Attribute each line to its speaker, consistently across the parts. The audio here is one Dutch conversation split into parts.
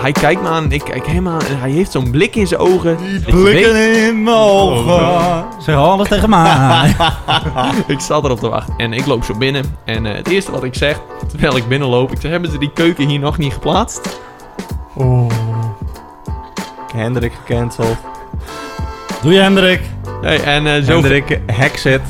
Speaker 1: hij kijkt me aan en ik kijk hem aan en hij heeft zo'n blik in zijn ogen. dat je weet-
Speaker 2: Blikken in mijn ogen. Zeg alles tegen mij.
Speaker 1: ik zat erop te wachten. En ik loop zo binnen. En eh, het eerste wat ik zeg, terwijl ik binnenloop, ik zeg, hebben ze die keuken hier nog niet geplaatst?
Speaker 3: Hendrik gecanceld.
Speaker 2: Doe je Hendrik?
Speaker 1: Nee, en eh, zo...
Speaker 3: Hendrik Hexit.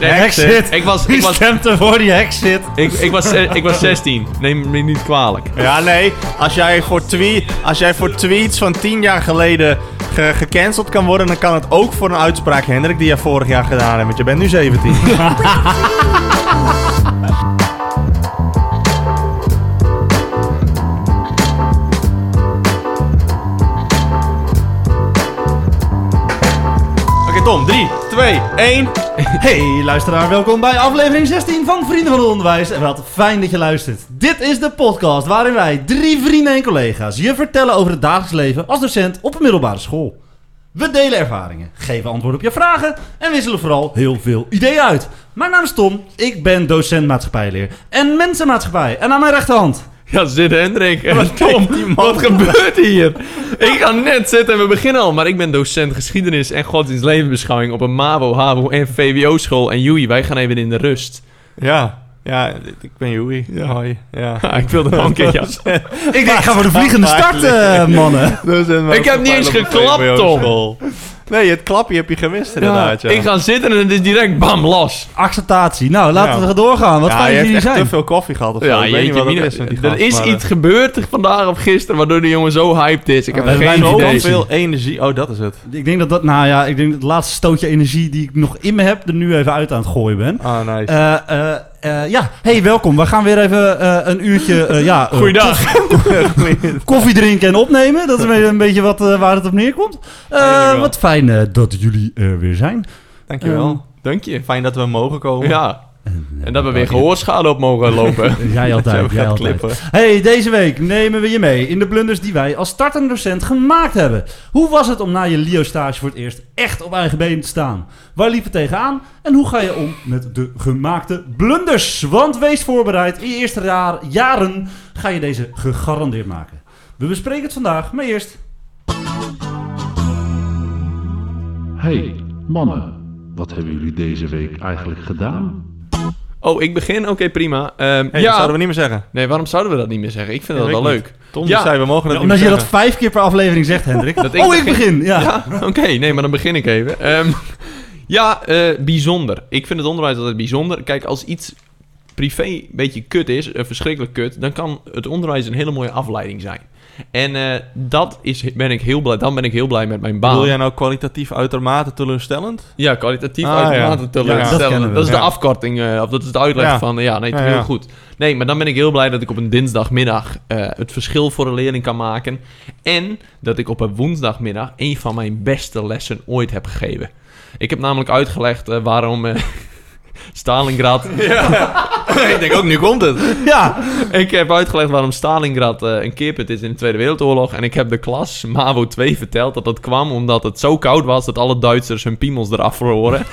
Speaker 1: Nee,
Speaker 2: Hexit.
Speaker 1: Ik was, ik
Speaker 2: Wie
Speaker 1: was,
Speaker 2: stemt er voor die hexit?
Speaker 1: ik, ik was, eh, ik was 16. Neem me niet kwalijk.
Speaker 3: Ja, nee. Als jij voor, twee, als jij voor tweets van tien jaar geleden ge- gecanceld kan worden, dan kan het ook voor een uitspraak, Hendrik, die jij vorig jaar gedaan hebt. Want je bent nu 17.
Speaker 1: Oké, Tom. 3, 2, 1.
Speaker 2: Hey luisteraar, welkom bij aflevering 16 van Vrienden van het Onderwijs. En wat fijn dat je luistert. Dit is de podcast waarin wij drie vrienden en collega's je vertellen over het dagelijks leven als docent op een middelbare school. We delen ervaringen, geven antwoord op je vragen en wisselen vooral heel veel ideeën uit. Mijn naam is Tom, ik ben docent maatschappijleer en mensenmaatschappij. En aan mijn rechterhand.
Speaker 1: Ja, zit Hendrik. En Tom, wat gebeurt hier? Ik ga net zitten en we beginnen al. Maar ik ben docent geschiedenis en godsdienst levensbeschouwing op een MAVO, HAVO en VWO-school. En Joey, wij gaan even in de rust.
Speaker 3: ja. Ja, ik ben Joey. Hoi. Ja.
Speaker 1: Ha, ik wilde nog een keer, ja.
Speaker 2: Ik denk, ik ga voor de vliegende start, eh, mannen.
Speaker 3: Dus in mijn
Speaker 1: Ik heb niet eens
Speaker 3: op de
Speaker 1: geklapt,
Speaker 3: VWO-school.
Speaker 1: Tom.
Speaker 3: Nee, het klapje heb je gemist inderdaad. Ja.
Speaker 1: Ik ga zitten en het is direct bam, los.
Speaker 2: Acceptatie. Nou, laten we
Speaker 3: Ja.
Speaker 2: er doorgaan. Wat
Speaker 3: ja,
Speaker 2: fijn
Speaker 3: je
Speaker 2: dat
Speaker 3: hebt
Speaker 2: jullie
Speaker 3: echt
Speaker 2: zijn.
Speaker 3: te veel koffie gehad of zo.
Speaker 1: Ja,
Speaker 3: ik weet niet
Speaker 1: jeetje,
Speaker 3: wat het
Speaker 1: mina,
Speaker 3: is met die
Speaker 1: er
Speaker 3: gast,
Speaker 1: is
Speaker 3: maar, eh,
Speaker 1: iets gebeurd vandaag of gisteren waardoor de jongen zo hyped is. Ik heb
Speaker 3: Oh,
Speaker 2: we hebben
Speaker 1: geen
Speaker 2: weinig
Speaker 1: idee.
Speaker 2: idee.
Speaker 3: Zoveel energie. Oh, dat is het.
Speaker 2: Ik denk dat dat, nou ja, ik denk dat het laatste stootje energie die ik nog in me heb, er nu even uit aan het gooien ben.
Speaker 3: Ah, nice.
Speaker 2: Eh, eh, eh, ja, hey, welkom. We gaan weer even eh, een uurtje eh, ja, eh,
Speaker 1: Goeiedag.
Speaker 2: kof- koffie drinken en opnemen. Dat is een beetje- een beetje wat, eh, waar het op neerkomt. Eh,
Speaker 3: Dankjewel.
Speaker 2: wat fijn eh, dat jullie er weer zijn.
Speaker 3: Dankjewel.
Speaker 2: ehm,
Speaker 1: Dank je.
Speaker 3: Fijn dat we mogen komen.
Speaker 1: Ja. En dat we weer gehoorschade op mogen lopen.
Speaker 2: Jij altijd, jij
Speaker 3: gaat
Speaker 2: altijd.
Speaker 3: klippen.
Speaker 2: Hey, deze week nemen we je mee in de blunders die wij als startende docent gemaakt hebben. Hoe was het om na je LIO-stage voor het eerst echt op eigen benen te staan? Waar liep het tegenaan? En hoe ga je om met de gemaakte blunders? Want wees voorbereid, in je eerste jaar, jaren ga je deze gegarandeerd maken. We bespreken het vandaag, maar eerst...
Speaker 4: Hey, mannen, wat hebben jullie deze week eigenlijk gedaan?
Speaker 1: Oh, ik begin? Oké, prima. Ehm,
Speaker 3: Hey, dat
Speaker 1: ja.
Speaker 3: zouden we niet meer zeggen.
Speaker 1: Nee, waarom zouden we dat niet meer zeggen? Ik vind dat
Speaker 3: weet
Speaker 1: wel
Speaker 3: ik
Speaker 1: leuk.
Speaker 3: Tom
Speaker 1: Ja.
Speaker 3: die zei, we mogen dat niet
Speaker 2: Omdat
Speaker 3: meer
Speaker 2: je dat
Speaker 3: zeggen.
Speaker 2: vijf keer per aflevering zegt, Hendrik.
Speaker 1: Dat ik
Speaker 2: oh, ik
Speaker 1: begin.
Speaker 2: begin! Ja.
Speaker 1: Ja, oké. nee, maar dan begin ik even. Ehm, ja, eh, bijzonder. Ik vind het onderwijs altijd bijzonder. Kijk, als iets privé een beetje kut is, eh, verschrikkelijk kut, dan kan het onderwijs een hele mooie afleiding zijn. En eh, dat is, ben ik heel blij. Dan ben ik heel blij met mijn baan.
Speaker 3: Bedoel jij nou kwalitatief uitermate teleurstellend?
Speaker 1: Ja, kwalitatief
Speaker 3: Ah,
Speaker 1: uitermate
Speaker 3: ja.
Speaker 1: teleurstellend.
Speaker 2: Ja, dat kennen
Speaker 1: dat,
Speaker 2: we.
Speaker 1: is de
Speaker 3: Ja.
Speaker 1: afkorting, eh, of dat is de uitleg
Speaker 3: Ja.
Speaker 1: van, eh, ja, nee,
Speaker 3: Ja,
Speaker 1: heel
Speaker 3: ja.
Speaker 1: goed. Nee, maar dan ben ik heel blij dat ik op een dinsdagmiddag eh, het verschil voor een leerling kan maken. En dat ik op een woensdagmiddag een van mijn beste lessen ooit heb gegeven. Ik heb namelijk uitgelegd eh, waarom eh, Stalingrad...
Speaker 3: ik denk ook, nu komt het.
Speaker 2: Ja.
Speaker 1: ik heb uitgelegd waarom Stalingrad eh, een keerpunt is in de Tweede Wereldoorlog. En ik heb de klas MAVO 2 verteld dat dat kwam omdat het zo koud was dat alle Duitsers hun piemels eraf verloren.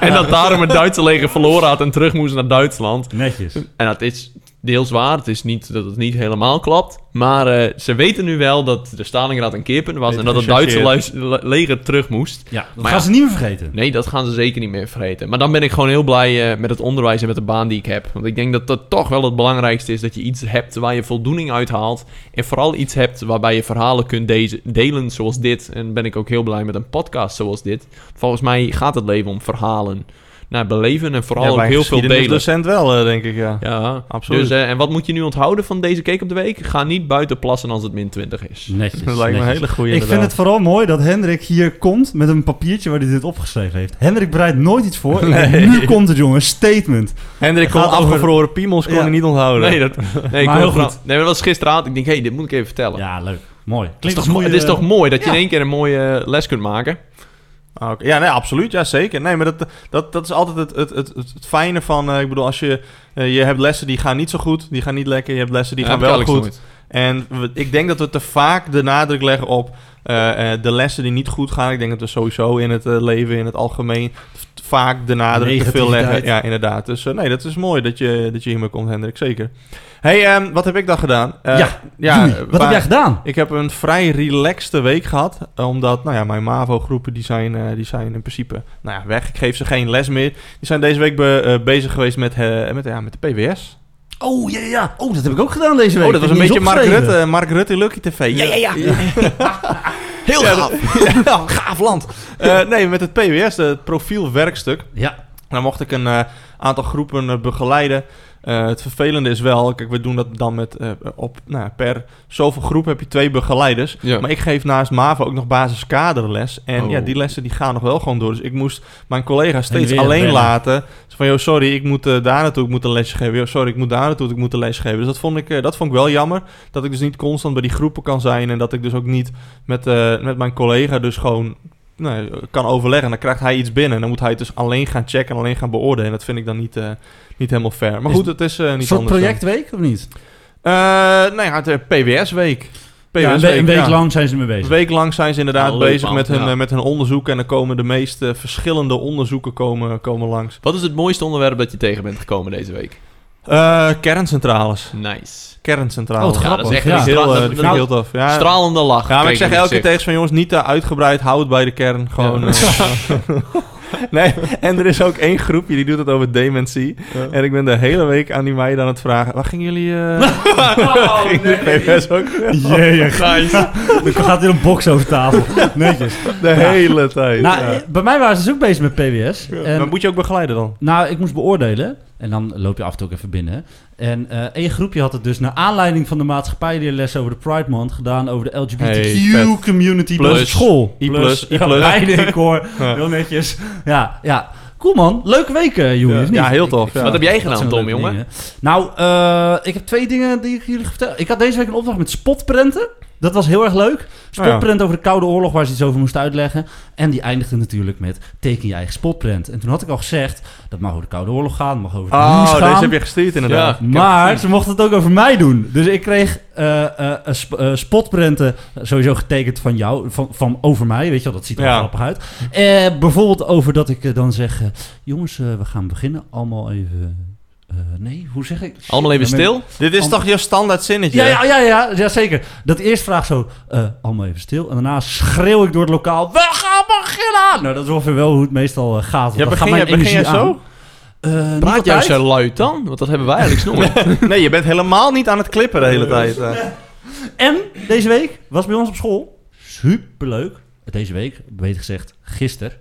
Speaker 1: en dat daarom het Duitse leger verloren had en terug moest naar Duitsland.
Speaker 2: Netjes.
Speaker 1: En dat is deels waar. Het is niet dat het niet helemaal klopt. Maar eh, ze weten nu wel dat de Stalingrad een keerpunt was en dat het Duitse
Speaker 3: Gechargeerd.
Speaker 1: luis- le- leger terug moest.
Speaker 2: Ja, dat
Speaker 1: Maar
Speaker 2: gaan
Speaker 1: ja.
Speaker 2: ze niet meer vergeten.
Speaker 1: Nee, dat gaan ze zeker niet meer vergeten. Maar dan ben ik gewoon heel blij eh, met het onderwijs en met de baan die ik heb. Want ik denk dat dat toch wel het belangrijkste is. Dat je iets hebt waar je voldoening uit haalt. En vooral iets hebt waarbij je verhalen kunt deze- delen zoals dit. En ben ik ook heel blij met een podcast zoals dit. Volgens mij gaat het leven om verhalen. Naar beleven en vooral ook heel veel
Speaker 2: dus,
Speaker 1: delen.
Speaker 3: docent wel, eh, denk ik, ja.
Speaker 1: Ja,
Speaker 3: Absoluut.
Speaker 1: Dus, eh, en wat moet je nu onthouden van deze cake op de week? Ga niet buiten plassen als het min 20 is.
Speaker 2: Netjes.
Speaker 3: Dat lijkt me een hele goede
Speaker 2: Ik vind het vooral mooi dat Hendrik hier komt met een papiertje waar hij dit opgeschreven heeft. Hendrik bereidt nooit iets voor.
Speaker 3: Nee.
Speaker 2: Nu komt het, jongen. Statement.
Speaker 3: Hendrik kon
Speaker 2: gaat over-
Speaker 3: afgevroren piemels kon
Speaker 2: Ja.
Speaker 3: je niet onthouden.
Speaker 1: Nee, dat, nee, ik
Speaker 2: Oh, Maar
Speaker 1: hoor
Speaker 2: heel
Speaker 1: vooral-
Speaker 2: goed.
Speaker 1: nee, maar dat was gisteravond. Ik denk, hé, hey, dit moet ik even vertellen.
Speaker 2: Ja, leuk. Mooi.
Speaker 1: Het is, toch,
Speaker 2: als
Speaker 1: mo-
Speaker 2: goede-
Speaker 1: het is toch mooi dat je
Speaker 2: Ja.
Speaker 1: in één keer een mooie eh, les kunt maken?
Speaker 3: Ah, oké. Ja, nee, absoluut. Ja, zeker. Nee, maar dat, dat, dat is altijd het, het, het, het, het fijne van... eh, ik bedoel, als je... eh, je hebt lessen die gaan niet zo goed. Die gaan niet lekker. Je hebt lessen die
Speaker 1: Ja,
Speaker 3: gaan
Speaker 1: heb ik
Speaker 3: wel
Speaker 1: Alex
Speaker 3: goed.
Speaker 1: nooit.
Speaker 3: En we- ik denk dat we te vaak de nadruk leggen op eh, eh, de lessen die niet goed gaan. Ik denk dat we sowieso in het eh, leven, in het algemeen, t- vaak de nadruk te veel
Speaker 2: Negativiteit.
Speaker 3: leggen. Ja, inderdaad. Dus eh, nee, dat is mooi dat je, dat je hiermee komt, Hendrik. Zeker. hey, ehm, wat heb ik dan gedaan? Eh,
Speaker 2: Ja, Joey,
Speaker 3: eh,
Speaker 2: wat heb
Speaker 3: waar-
Speaker 2: jij gedaan?
Speaker 3: ik heb een vrij relaxte week gehad. eh, Omdat, nou ja, mijn MAVO-groepen die zijn, eh, die zijn in principe nou ja, weg. Ik geef ze geen les meer. Die zijn deze week be- eh, bezig geweest met, eh, met, ja, met de PWS.
Speaker 2: Oh, ja, ja, ja. Oh, dat heb ik ook gedaan deze week.
Speaker 3: Oh, dat was
Speaker 2: Heb
Speaker 3: een
Speaker 2: ik niet
Speaker 3: beetje
Speaker 2: eens
Speaker 3: Mark
Speaker 2: opgeschreven.
Speaker 3: Rutte, Mark Rutte Lucky TV. Ja, ja, ja.
Speaker 5: Heel
Speaker 3: Ja,
Speaker 5: gaaf.
Speaker 3: Ja, gaaf land. Eh, nee, met het PWS, het profielwerkstuk.
Speaker 2: Ja.
Speaker 3: Dan mocht ik een eh, aantal groepen eh, begeleiden. Eh, het vervelende is wel, kijk, we doen dat dan met eh, op, nou, ja, per zoveel groep heb je twee begeleiders.
Speaker 1: Ja.
Speaker 3: Maar ik geef naast MAVO ook nog basiskaderles. En
Speaker 1: Oh.
Speaker 3: ja, die lessen die gaan nog wel gewoon door. Dus ik moest mijn collega steeds
Speaker 2: weer
Speaker 3: alleen
Speaker 2: bellen.
Speaker 3: laten. Dus van, joh, sorry, ik moet eh, daar naartoe, ik moet een lesje geven. Yo, sorry, ik moet daar naartoe, ik moet een lesje geven. Dus dat vond, ik, eh, dat vond ik wel jammer. Dat ik dus niet constant bij die groepen kan zijn. En dat ik dus ook niet met, eh, met mijn collega dus gewoon nou, ja, kan overleggen. Dan krijgt hij iets binnen. En dan moet hij het dus alleen gaan checken en alleen gaan beoordelen. En dat vind ik dan niet, eh, niet helemaal fair. Maar
Speaker 2: Is-
Speaker 3: goed, het is eh, niet
Speaker 2: Een soort
Speaker 3: anders. dan.
Speaker 2: projectweek, of niet?
Speaker 3: Eh, nou ja, het eh, PWS-week. PWS
Speaker 2: Ja, een, we- een week lang zijn ze ermee
Speaker 3: een
Speaker 2: bezig.
Speaker 3: week lang zijn ze inderdaad
Speaker 1: Ja, leuk,
Speaker 3: bezig
Speaker 1: man.
Speaker 3: met hun,
Speaker 1: Ja.
Speaker 3: eh, met hun onderzoek. En dan komen de meeste verschillende onderzoeken komen, komen langs.
Speaker 1: Wat is het mooiste onderwerp dat je tegen bent gekomen deze week?
Speaker 3: Eh, kerncentrales.
Speaker 1: Nice.
Speaker 3: Kerncentrales.
Speaker 2: Oh,
Speaker 1: Ja, dat is echt
Speaker 2: Ja. nou-
Speaker 1: een stra-
Speaker 3: heel, eh,
Speaker 1: dat-
Speaker 3: dat vind ik
Speaker 1: dat-
Speaker 3: heel tof. Ja,
Speaker 1: stralende lach.
Speaker 3: ja maar ik
Speaker 1: kreeg
Speaker 3: zeg
Speaker 1: in het
Speaker 3: elke keer
Speaker 1: gezicht.
Speaker 3: tegen ze van jongens, niet te uitgebreid, hou het bij de kern. Gewoon.
Speaker 1: Ja.
Speaker 3: eh, nee, en er is ook één groepje die doet het over dementie. En ik ben de hele week aan die meiden aan het vragen, waar gingen jullie... eh gingen jullie PBS ook?
Speaker 2: Jee, Er gaat hier een box over tafel. Netjes.
Speaker 3: De hele tijd.
Speaker 2: Nou,
Speaker 3: ja.
Speaker 2: eh, ehm, bij mij waren ze dus ook bezig met PWS. En,
Speaker 3: maar moet je ook begeleiden dan?
Speaker 2: nou, ik moest beoordelen. En dan loop je af en toe ook even binnen. hè. En eh, één groepje had het dus naar aanleiding van de maatschappijleerles over de Pride Month gedaan over de LGBTQ
Speaker 3: Hey, vet.
Speaker 2: community
Speaker 1: Plus.
Speaker 2: plus school.
Speaker 3: I plus, I
Speaker 2: Ja,
Speaker 3: plus.
Speaker 2: beide, ik hoor.
Speaker 3: Ja.
Speaker 2: Heel netjes. Ja, ja. Cool man. Leuke week, eh Joey, of niet?
Speaker 3: Ja, heel tof. Ja.
Speaker 1: Wat heb jij
Speaker 2: Dat
Speaker 1: gedaan,
Speaker 2: zijn
Speaker 1: Tom,
Speaker 2: leuke
Speaker 1: jongen?
Speaker 2: dingen. Nou, eh, ik heb twee dingen die ik jullie ga vertellen. Ik had deze week een opdracht met spotprenten. Dat was heel erg
Speaker 3: Oh,
Speaker 2: leuk. Spotprent over de Koude Oorlog, waar ze iets over moesten uitleggen. En die eindigde natuurlijk met teken je eigen spotprint. En toen had ik al gezegd, dat mag over de Koude Oorlog gaan, dat mag over de nieuws
Speaker 3: Oh,
Speaker 2: gaan.
Speaker 3: deze heb je gestuurd inderdaad.
Speaker 1: Ja.
Speaker 2: Maar ze mochten het ook over mij doen. Dus ik kreeg eh, eh, eh, sp- eh, spotprenten eh, sowieso getekend van jou, van, van over mij. Weet je wel, dat ziet er
Speaker 3: Ja.
Speaker 2: grappig uit. Eh, bijvoorbeeld over dat ik eh, dan zeg... eh, jongens, eh, we gaan beginnen. Allemaal even... eh, nee, hoe zeg ik?
Speaker 1: Allemaal even
Speaker 2: Ja, maar-
Speaker 1: stil.
Speaker 3: Dit is
Speaker 2: Om-
Speaker 3: toch jouw standaard zinnetje?
Speaker 2: Ja, ja, ja, ja, ja, zeker. Dat eerst vraag zo, eh, allemaal even stil. En daarna schreeuw ik door het lokaal, we gaan beginnen! Nou, dat is ongeveer wel hoe het meestal eh, gaat. want
Speaker 3: Ja,
Speaker 2: dan gaat
Speaker 3: begin,
Speaker 2: mijn
Speaker 3: jij- begin jij
Speaker 2: energie aan.
Speaker 3: zo?
Speaker 2: Eh, niet
Speaker 1: Praat jij
Speaker 2: altijd.
Speaker 1: zo luid dan? Want dat hebben wij eigenlijk nooit.
Speaker 3: Nee, je bent helemaal niet aan het klippen de hele tijd. eh.
Speaker 2: En deze week was bij ons op school superleuk. Deze week, beter gezegd, gisteren.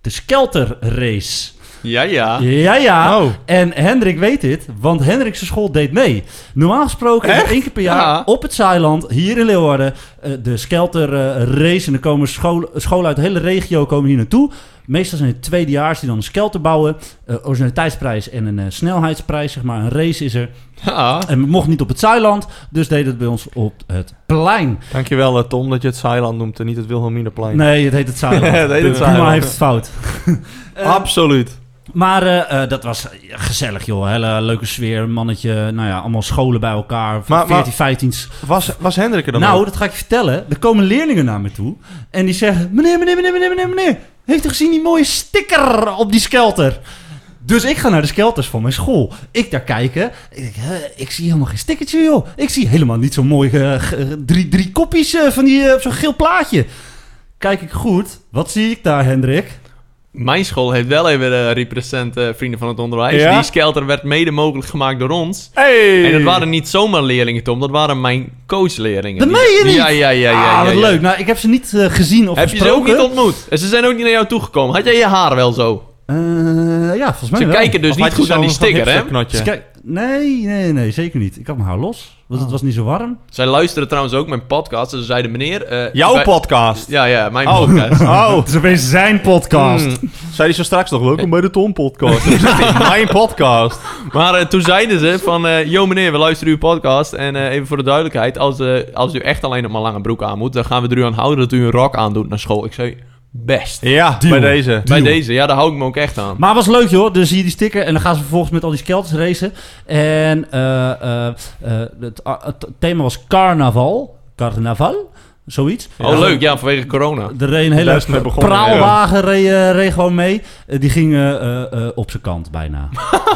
Speaker 2: De Skelter Race.
Speaker 1: ja, ja.
Speaker 2: Ja, ja.
Speaker 3: Oh.
Speaker 2: En Hendrik weet dit, want Hendrik's school deed mee. Normaal gesproken is er één keer per jaar
Speaker 1: Ja.
Speaker 2: op het Zeiland, hier in Leeuwarden, eh, de Skelter eh, race. En er komen scholen, scholen uit de hele regio komen hier naartoe. Meestal zijn het tweedejaars die dan een Skelter bouwen. Eh, originaliteitsprijs en een eh, snelheidsprijs, zeg maar. Een race is er.
Speaker 1: Ja.
Speaker 2: En we mochten niet op het Zeiland, dus deden het bij ons op het plein.
Speaker 3: Dankjewel eh, Tom dat je het Zeiland noemt en niet het Wilhelminaplein.
Speaker 2: Nee, het heet het Zeiland.
Speaker 3: Het heet het
Speaker 2: Puma
Speaker 3: Zeiland.
Speaker 2: heeft het fout. Eh,
Speaker 3: Absoluut.
Speaker 2: maar eh, eh, dat was eh, gezellig, joh. Hele leuke sfeer, mannetje. Nou ja, allemaal scholen bij elkaar.
Speaker 3: Maar- maar-
Speaker 2: 14, 15. 's.
Speaker 3: Was, was Hendrik er dan
Speaker 2: Nou,
Speaker 3: ook?
Speaker 2: dat ga ik je vertellen. Er komen leerlingen naar me toe. En die zeggen, meneer, meneer, meneer, meneer, meneer, meneer. Heeft u gezien die mooie sticker op die skelter? Dus ik ga naar de skelters van mijn school. Ik daar kijken. Ik denk, hè, ik zie helemaal geen stickertje, joh. Ik zie helemaal niet zo'n mooi eh, g- eh, drie, drie kopjes eh, van die, eh, op zo'n geel plaatje. Kijk ik goed. Wat zie ik daar, Hendrik?
Speaker 1: Mijn school heeft wel even de represent eh, Vrienden van het Onderwijs.
Speaker 3: Ja?
Speaker 1: Die skelter werd mede mogelijk gemaakt door ons.
Speaker 3: Hey!
Speaker 1: En dat waren niet zomaar leerlingen, Tom. Dat waren mijn coachleerlingen.
Speaker 2: Dat
Speaker 1: Die-
Speaker 2: meen je niet?
Speaker 1: Ja, ja, ja. ja,
Speaker 2: ah,
Speaker 1: ja,
Speaker 2: wat
Speaker 1: ja.
Speaker 2: leuk. Nou, ik heb ze niet eh, gezien of
Speaker 1: Heb je ze ook
Speaker 2: gesproken.
Speaker 1: niet ontmoet? En ze zijn ook niet naar jou toegekomen. Had jij je haar wel zo?
Speaker 2: Eh, ja, volgens mij
Speaker 1: Ze
Speaker 2: wel.
Speaker 1: kijken dus
Speaker 3: Of
Speaker 1: niet
Speaker 3: had je
Speaker 1: goed naar
Speaker 3: zo'n-
Speaker 1: die
Speaker 3: zo'n
Speaker 1: sticker, hè?
Speaker 3: hipsterknotje?
Speaker 2: Dus kijk, nee, nee, nee, zeker niet. Ik had mijn haar los, want
Speaker 1: Oh.
Speaker 2: het was niet zo warm.
Speaker 1: Zij luisteren trouwens ook mijn podcast. En ze zeiden, meneer... eh,
Speaker 3: Jouw
Speaker 1: wij-
Speaker 3: podcast.
Speaker 1: Ja, ja, mijn
Speaker 3: Oh.
Speaker 1: podcast.
Speaker 3: Oh,
Speaker 2: Het is opeens zijn podcast.
Speaker 1: Hmm.
Speaker 3: zei hij zo straks nog, welkom bij de Tom podcast. En dan zegt hij, Mijn podcast.
Speaker 1: Maar eh, toen zeiden ze van... eh Yo meneer, we luisteren uw podcast. En eh, even voor de duidelijkheid. Als, eh, als u echt alleen nog maar lange broek aan moet... dan gaan we er u aan houden dat u een rok aandoet naar school. Ik zei... Best.
Speaker 3: Ja,
Speaker 2: Deal.
Speaker 3: bij deze.
Speaker 1: Bij
Speaker 2: Deal.
Speaker 1: deze, ja, daar hou ik me ook echt aan.
Speaker 2: Maar het was leuk, joh. Dan zie je die sticker en dan gaan ze vervolgens met al die skelters racen. En eh, eh, eh, het, ah, het thema was carnaval. Carnaval. zoiets.
Speaker 1: Oh, leuk. Ja, vanwege corona.
Speaker 2: Er reed een hele
Speaker 3: Juist mee begonnen,
Speaker 2: praalwagen reed, eh, reed gewoon mee. Eh, die ging eh, eh, eh, op zijn kant bijna.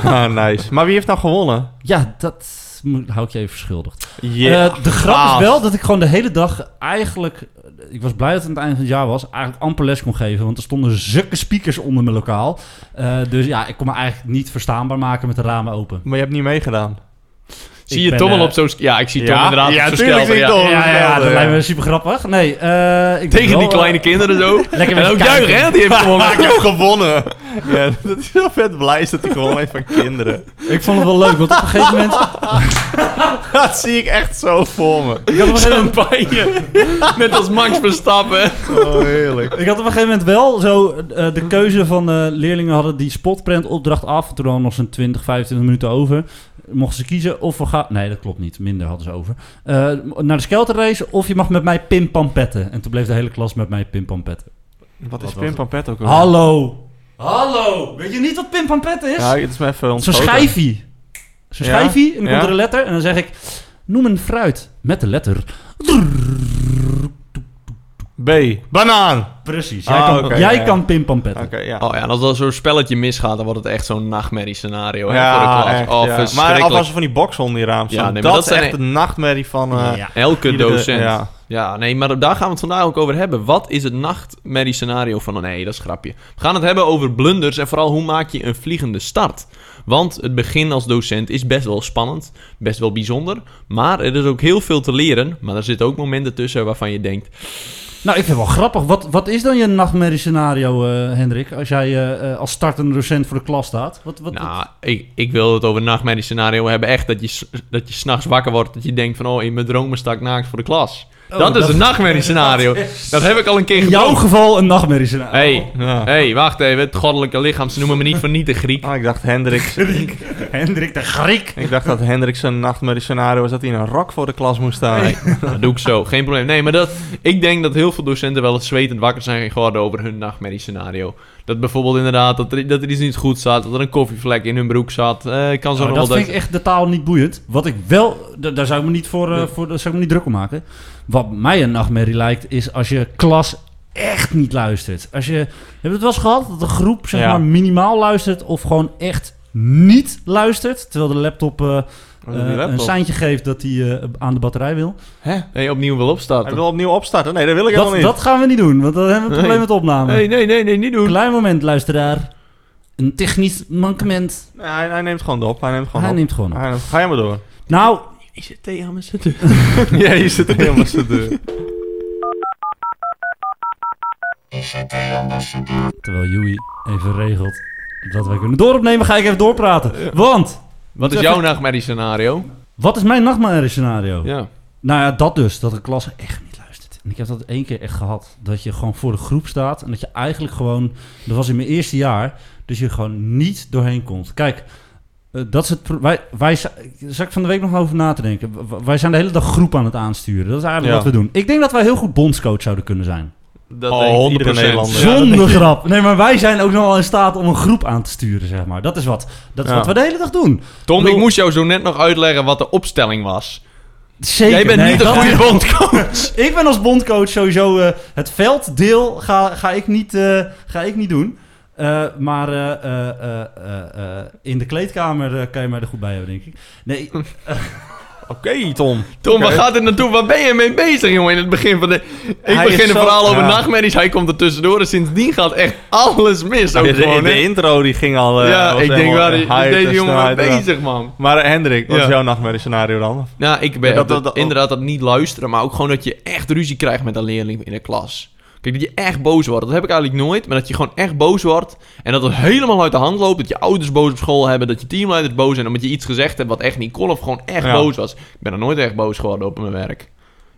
Speaker 3: Ah, nice. Maar wie heeft nou gewonnen?
Speaker 2: ja, dat moet- hou ik je even verschuldigd.
Speaker 3: Yeah.
Speaker 2: Eh, de grap
Speaker 1: gaaf.
Speaker 2: is wel dat ik gewoon de hele dag eigenlijk... Ik was blij dat het aan het eind van het jaar was. Eigenlijk amper les kon geven, want er stonden zulke speakers onder mijn lokaal. Eh, dus ja, ik kon me eigenlijk niet verstaanbaar maken met de ramen open.
Speaker 3: maar je hebt niet meegedaan.
Speaker 1: Zie
Speaker 2: ik
Speaker 1: je
Speaker 2: ben,
Speaker 1: Tom wel
Speaker 2: eh,
Speaker 1: op zo'n... Ja, ik zie Tom
Speaker 3: Ja?
Speaker 1: inderdaad
Speaker 3: Ja,
Speaker 1: op zo'n
Speaker 3: tuurlijk
Speaker 1: schelpen,
Speaker 3: zie ik
Speaker 1: Oh, ja.
Speaker 3: Tom.
Speaker 2: ja, ja, dat
Speaker 3: ja.
Speaker 2: lijkt me super grappig. Nee, eh, ik
Speaker 1: Tegen
Speaker 2: ben
Speaker 1: die
Speaker 2: wel,
Speaker 1: kleine
Speaker 2: eh,
Speaker 1: kinderen zo.
Speaker 2: Lekker
Speaker 1: En
Speaker 2: met
Speaker 1: ook
Speaker 2: kijken.
Speaker 1: juichen, hè? Die heeft gewonnen.
Speaker 3: Oh, ik heb gewonnen. Ja, dat is wel vet blij is dat hij gewonnen heeft van kinderen.
Speaker 2: Ik vond het wel leuk, want op een gegeven moment...
Speaker 3: Dat zie ik echt zo voor me.
Speaker 2: Ik had op een gegeven moment
Speaker 1: Champagne. Net als Max Verstappen.
Speaker 3: Oh, heerlijk.
Speaker 2: Ik had op een gegeven moment wel zo eh,
Speaker 3: Mhm.
Speaker 2: de keuze van eh, leerlingen hadden die spotprint opdracht af. En toen hadden we nog zo'n 20, 25 minuten over. Mochten ze kiezen of we gaan... Nee, dat klopt niet. Minder hadden ze over. Eh, naar de skelterrace of je mag met mij pimpampetten. En toen bleef de hele klas met mij pimpampetten.
Speaker 3: Wat
Speaker 2: was
Speaker 3: is Pim
Speaker 2: het?
Speaker 3: Pampet ook alweer?
Speaker 2: Hallo! Hallo! Weet je niet wat pimpampetten is?
Speaker 3: Ja, het is me even
Speaker 2: zo'n
Speaker 3: ontschoten.
Speaker 2: schijfie. Zo'n
Speaker 3: Ja?
Speaker 2: schijfie en dan
Speaker 3: Ja?
Speaker 2: komt er een letter. En dan zeg ik, noem een fruit met de letter.
Speaker 3: B. Banaan.
Speaker 2: Precies.
Speaker 3: Ah,
Speaker 2: Jij kan,
Speaker 3: oké,
Speaker 2: jij
Speaker 3: ja, ja.
Speaker 2: kan pimpampetten.
Speaker 3: Oké, ja.
Speaker 1: Oh ja, en als dat zo'n spelletje misgaat, dan wordt het echt zo'n nachtmerrie scenario hè, voor de
Speaker 3: Ja,
Speaker 1: klas.
Speaker 3: echt,
Speaker 1: oh,
Speaker 3: ja. Maar
Speaker 1: verschrikkelijk.
Speaker 3: alvast van die boxen onder je raam staan.
Speaker 1: Ja, nee, maar
Speaker 3: dat,
Speaker 1: dat
Speaker 3: is
Speaker 1: zijn
Speaker 3: echt
Speaker 1: e-
Speaker 3: de nachtmerrie van... eh,
Speaker 2: Ja.
Speaker 1: Elke
Speaker 3: iedere-
Speaker 1: docent. Ja.
Speaker 3: ja.
Speaker 1: nee, maar daar gaan we het vandaag ook over hebben. Wat is het nachtmerrie scenario van... Nee, dat is een grapje. We gaan het hebben over blunders en vooral hoe maak je een vliegende start. Want het begin als docent is best wel spannend, best wel bijzonder. Maar er is ook heel veel te leren. Maar er zitten ook momenten tussen waarvan je denkt...
Speaker 2: Nou, ik vind het wel grappig. Wat, wat is dan je nachtmerrie scenario, eh, Hendrik? Als jij eh, eh, als startende docent voor de klas staat. Wat, wat,
Speaker 1: Nou, ik, ik wil het over een nachtmerrie scenario hebben. Echt dat je, s- dat je s'nachts wakker wordt. Dat je denkt van, oh, in mijn dromen sta ik naakt voor de klas.
Speaker 2: Oh,
Speaker 1: dat is
Speaker 2: dat-
Speaker 1: een nachtmerrie scenario. Dat heb ik al een keer
Speaker 2: in jouw
Speaker 1: gedaan.
Speaker 2: geval een nachtmerrie scenario.
Speaker 1: Hey,
Speaker 3: ja.
Speaker 1: hey, wacht even. Het goddelijke lichaam, ze noemen me niet voor niet de Griek.
Speaker 3: Ah, ik dacht Hendrik.
Speaker 2: Hendrik de Griek.
Speaker 3: ik dacht dat Hendrik zijn nachtmerrie scenario was dat hij in een rok voor de klas moest staan.
Speaker 1: Dat doe ik zo, geen probleem. Nee, maar dat, ik denk dat heel veel docenten wel eens zwetend wakker zijn geworden over hun nachtmerrie scenario. Dat bijvoorbeeld inderdaad, dat er, dat er iets niet goed zat, dat er een koffievlek in hun broek zat. Eh, ik kan zo nog
Speaker 2: Oh, Nou, dat
Speaker 1: wel
Speaker 2: vind ik echt de taal niet boeiend. Wat ik wel, da- daar zou ik me niet voor, eh, voor daar zou ik me niet druk om maken. Wat mij een nachtmerrie lijkt, is als je klas echt niet luistert. Als je, hebben we het wel eens gehad dat een groep zeg
Speaker 3: Ja.
Speaker 2: maar minimaal luistert of gewoon echt niet luistert, terwijl de laptop, eh,
Speaker 3: Wat is
Speaker 2: eh,
Speaker 3: die
Speaker 2: een
Speaker 3: laptop?
Speaker 2: seintje geeft dat hij eh, aan de batterij wil.
Speaker 3: Hè?
Speaker 1: Nee, opnieuw wil
Speaker 3: Hij
Speaker 1: opstarten.
Speaker 3: wil opnieuw opstarten. Nee, dat wil ik
Speaker 2: Dat,
Speaker 3: helemaal niet.
Speaker 2: dat gaan we niet doen, want dan hebben we een probleem met de opname.
Speaker 1: Nee, nee, nee, nee, niet doen.
Speaker 2: Klein moment, luisteraar. Een technisch mankement.
Speaker 3: Nee, hij, hij neemt gewoon op. Hij neemt gewoon
Speaker 2: Hij
Speaker 3: op.
Speaker 2: neemt gewoon op.
Speaker 3: Hij neemt- Ga jij maar door.
Speaker 2: Nou,
Speaker 1: Is het thee aan mijn zitten?
Speaker 3: ja, je zit er helemaal zo deur.
Speaker 2: terwijl Joey even regelt dat wij kunnen dooropnemen, ga ik even doorpraten. Want,
Speaker 1: Wat is
Speaker 2: Zeg
Speaker 1: jouw nachtmerrie scenario?
Speaker 2: wat is mijn nachtmerrie scenario?
Speaker 1: Ja.
Speaker 2: Nou ja, dat dus, dat de klas echt niet luistert. En ik heb dat één keer echt gehad. Dat je gewoon voor de groep staat en dat je eigenlijk gewoon... Dat was in mijn eerste jaar, dus je gewoon niet doorheen komt. Kijk, eh, dat is het... pro- Wij, wij, zi- zat ik van de week nog over na te denken. W- w- Wij zijn de hele dag groep aan het aansturen. Dat is eigenlijk
Speaker 3: Ja.
Speaker 2: wat we doen. Ik denk dat wij heel goed bondscoach zouden kunnen zijn.
Speaker 3: Dat
Speaker 1: Oh,
Speaker 3: denkt iedere
Speaker 1: 100%.
Speaker 3: Nederlander.
Speaker 2: Zonder grap. Nee, maar wij zijn ook nog wel in staat om een groep aan te sturen, zeg maar. Dat is wat, dat is
Speaker 3: Ja.
Speaker 2: wat we de hele dag doen.
Speaker 1: Tom,
Speaker 2: Bedoel-
Speaker 1: ik moest jou zo net nog uitleggen wat de opstelling was.
Speaker 2: Zeker.
Speaker 1: Jij bent
Speaker 2: nee,
Speaker 1: niet een
Speaker 2: dat-
Speaker 1: goede bondcoach.
Speaker 2: Ik ben als bondcoach sowieso... eh, het velddeel ga, ga, ik niet, eh, ga ik niet doen. Eh, maar eh, eh, eh, eh, eh, in de kleedkamer eh, kan je mij er goed bij hebben, denk ik. Nee,
Speaker 3: Oké, Tom.
Speaker 1: Tom, waar
Speaker 3: Oké.
Speaker 1: gaat dit naartoe? Waar ben je mee bezig, jongen? In het begin van de... Ik
Speaker 3: Hij
Speaker 1: begin
Speaker 3: is
Speaker 1: een
Speaker 3: zo-
Speaker 1: verhaal over
Speaker 3: Ja.
Speaker 1: nachtmerries, hij komt er tussendoor. En sindsdien gaat echt alles mis. Ook
Speaker 3: de, de-
Speaker 1: gewoon,
Speaker 3: de
Speaker 1: hè?
Speaker 3: intro die ging al... eh,
Speaker 1: ja,
Speaker 3: was
Speaker 1: ik denk
Speaker 3: helemaal,
Speaker 1: waar
Speaker 3: eh,
Speaker 1: die-
Speaker 3: hype
Speaker 1: deze
Speaker 3: en
Speaker 1: jongen mee
Speaker 3: snelheid, ja.
Speaker 1: bezig, man.
Speaker 3: Maar eh, Hendrik, wat
Speaker 1: Ja.
Speaker 3: is jouw nachtmerrie scenario dan?
Speaker 1: Nou, ik ben
Speaker 3: Ja, dat- dat- oh.
Speaker 1: dat- inderdaad dat niet luisteren, maar ook gewoon dat je echt ruzie krijgt met een leerling in de klas. Kijk, dat je echt boos wordt. Dat heb ik eigenlijk nooit, maar dat je gewoon echt boos wordt. En dat het helemaal uit de hand loopt. Dat je ouders boos op school hebben, dat je teamleiders boos zijn. Omdat je iets gezegd hebt wat echt niet kon of gewoon echt
Speaker 3: Ja.
Speaker 1: boos was. Ik ben er nooit echt boos geworden op mijn werk.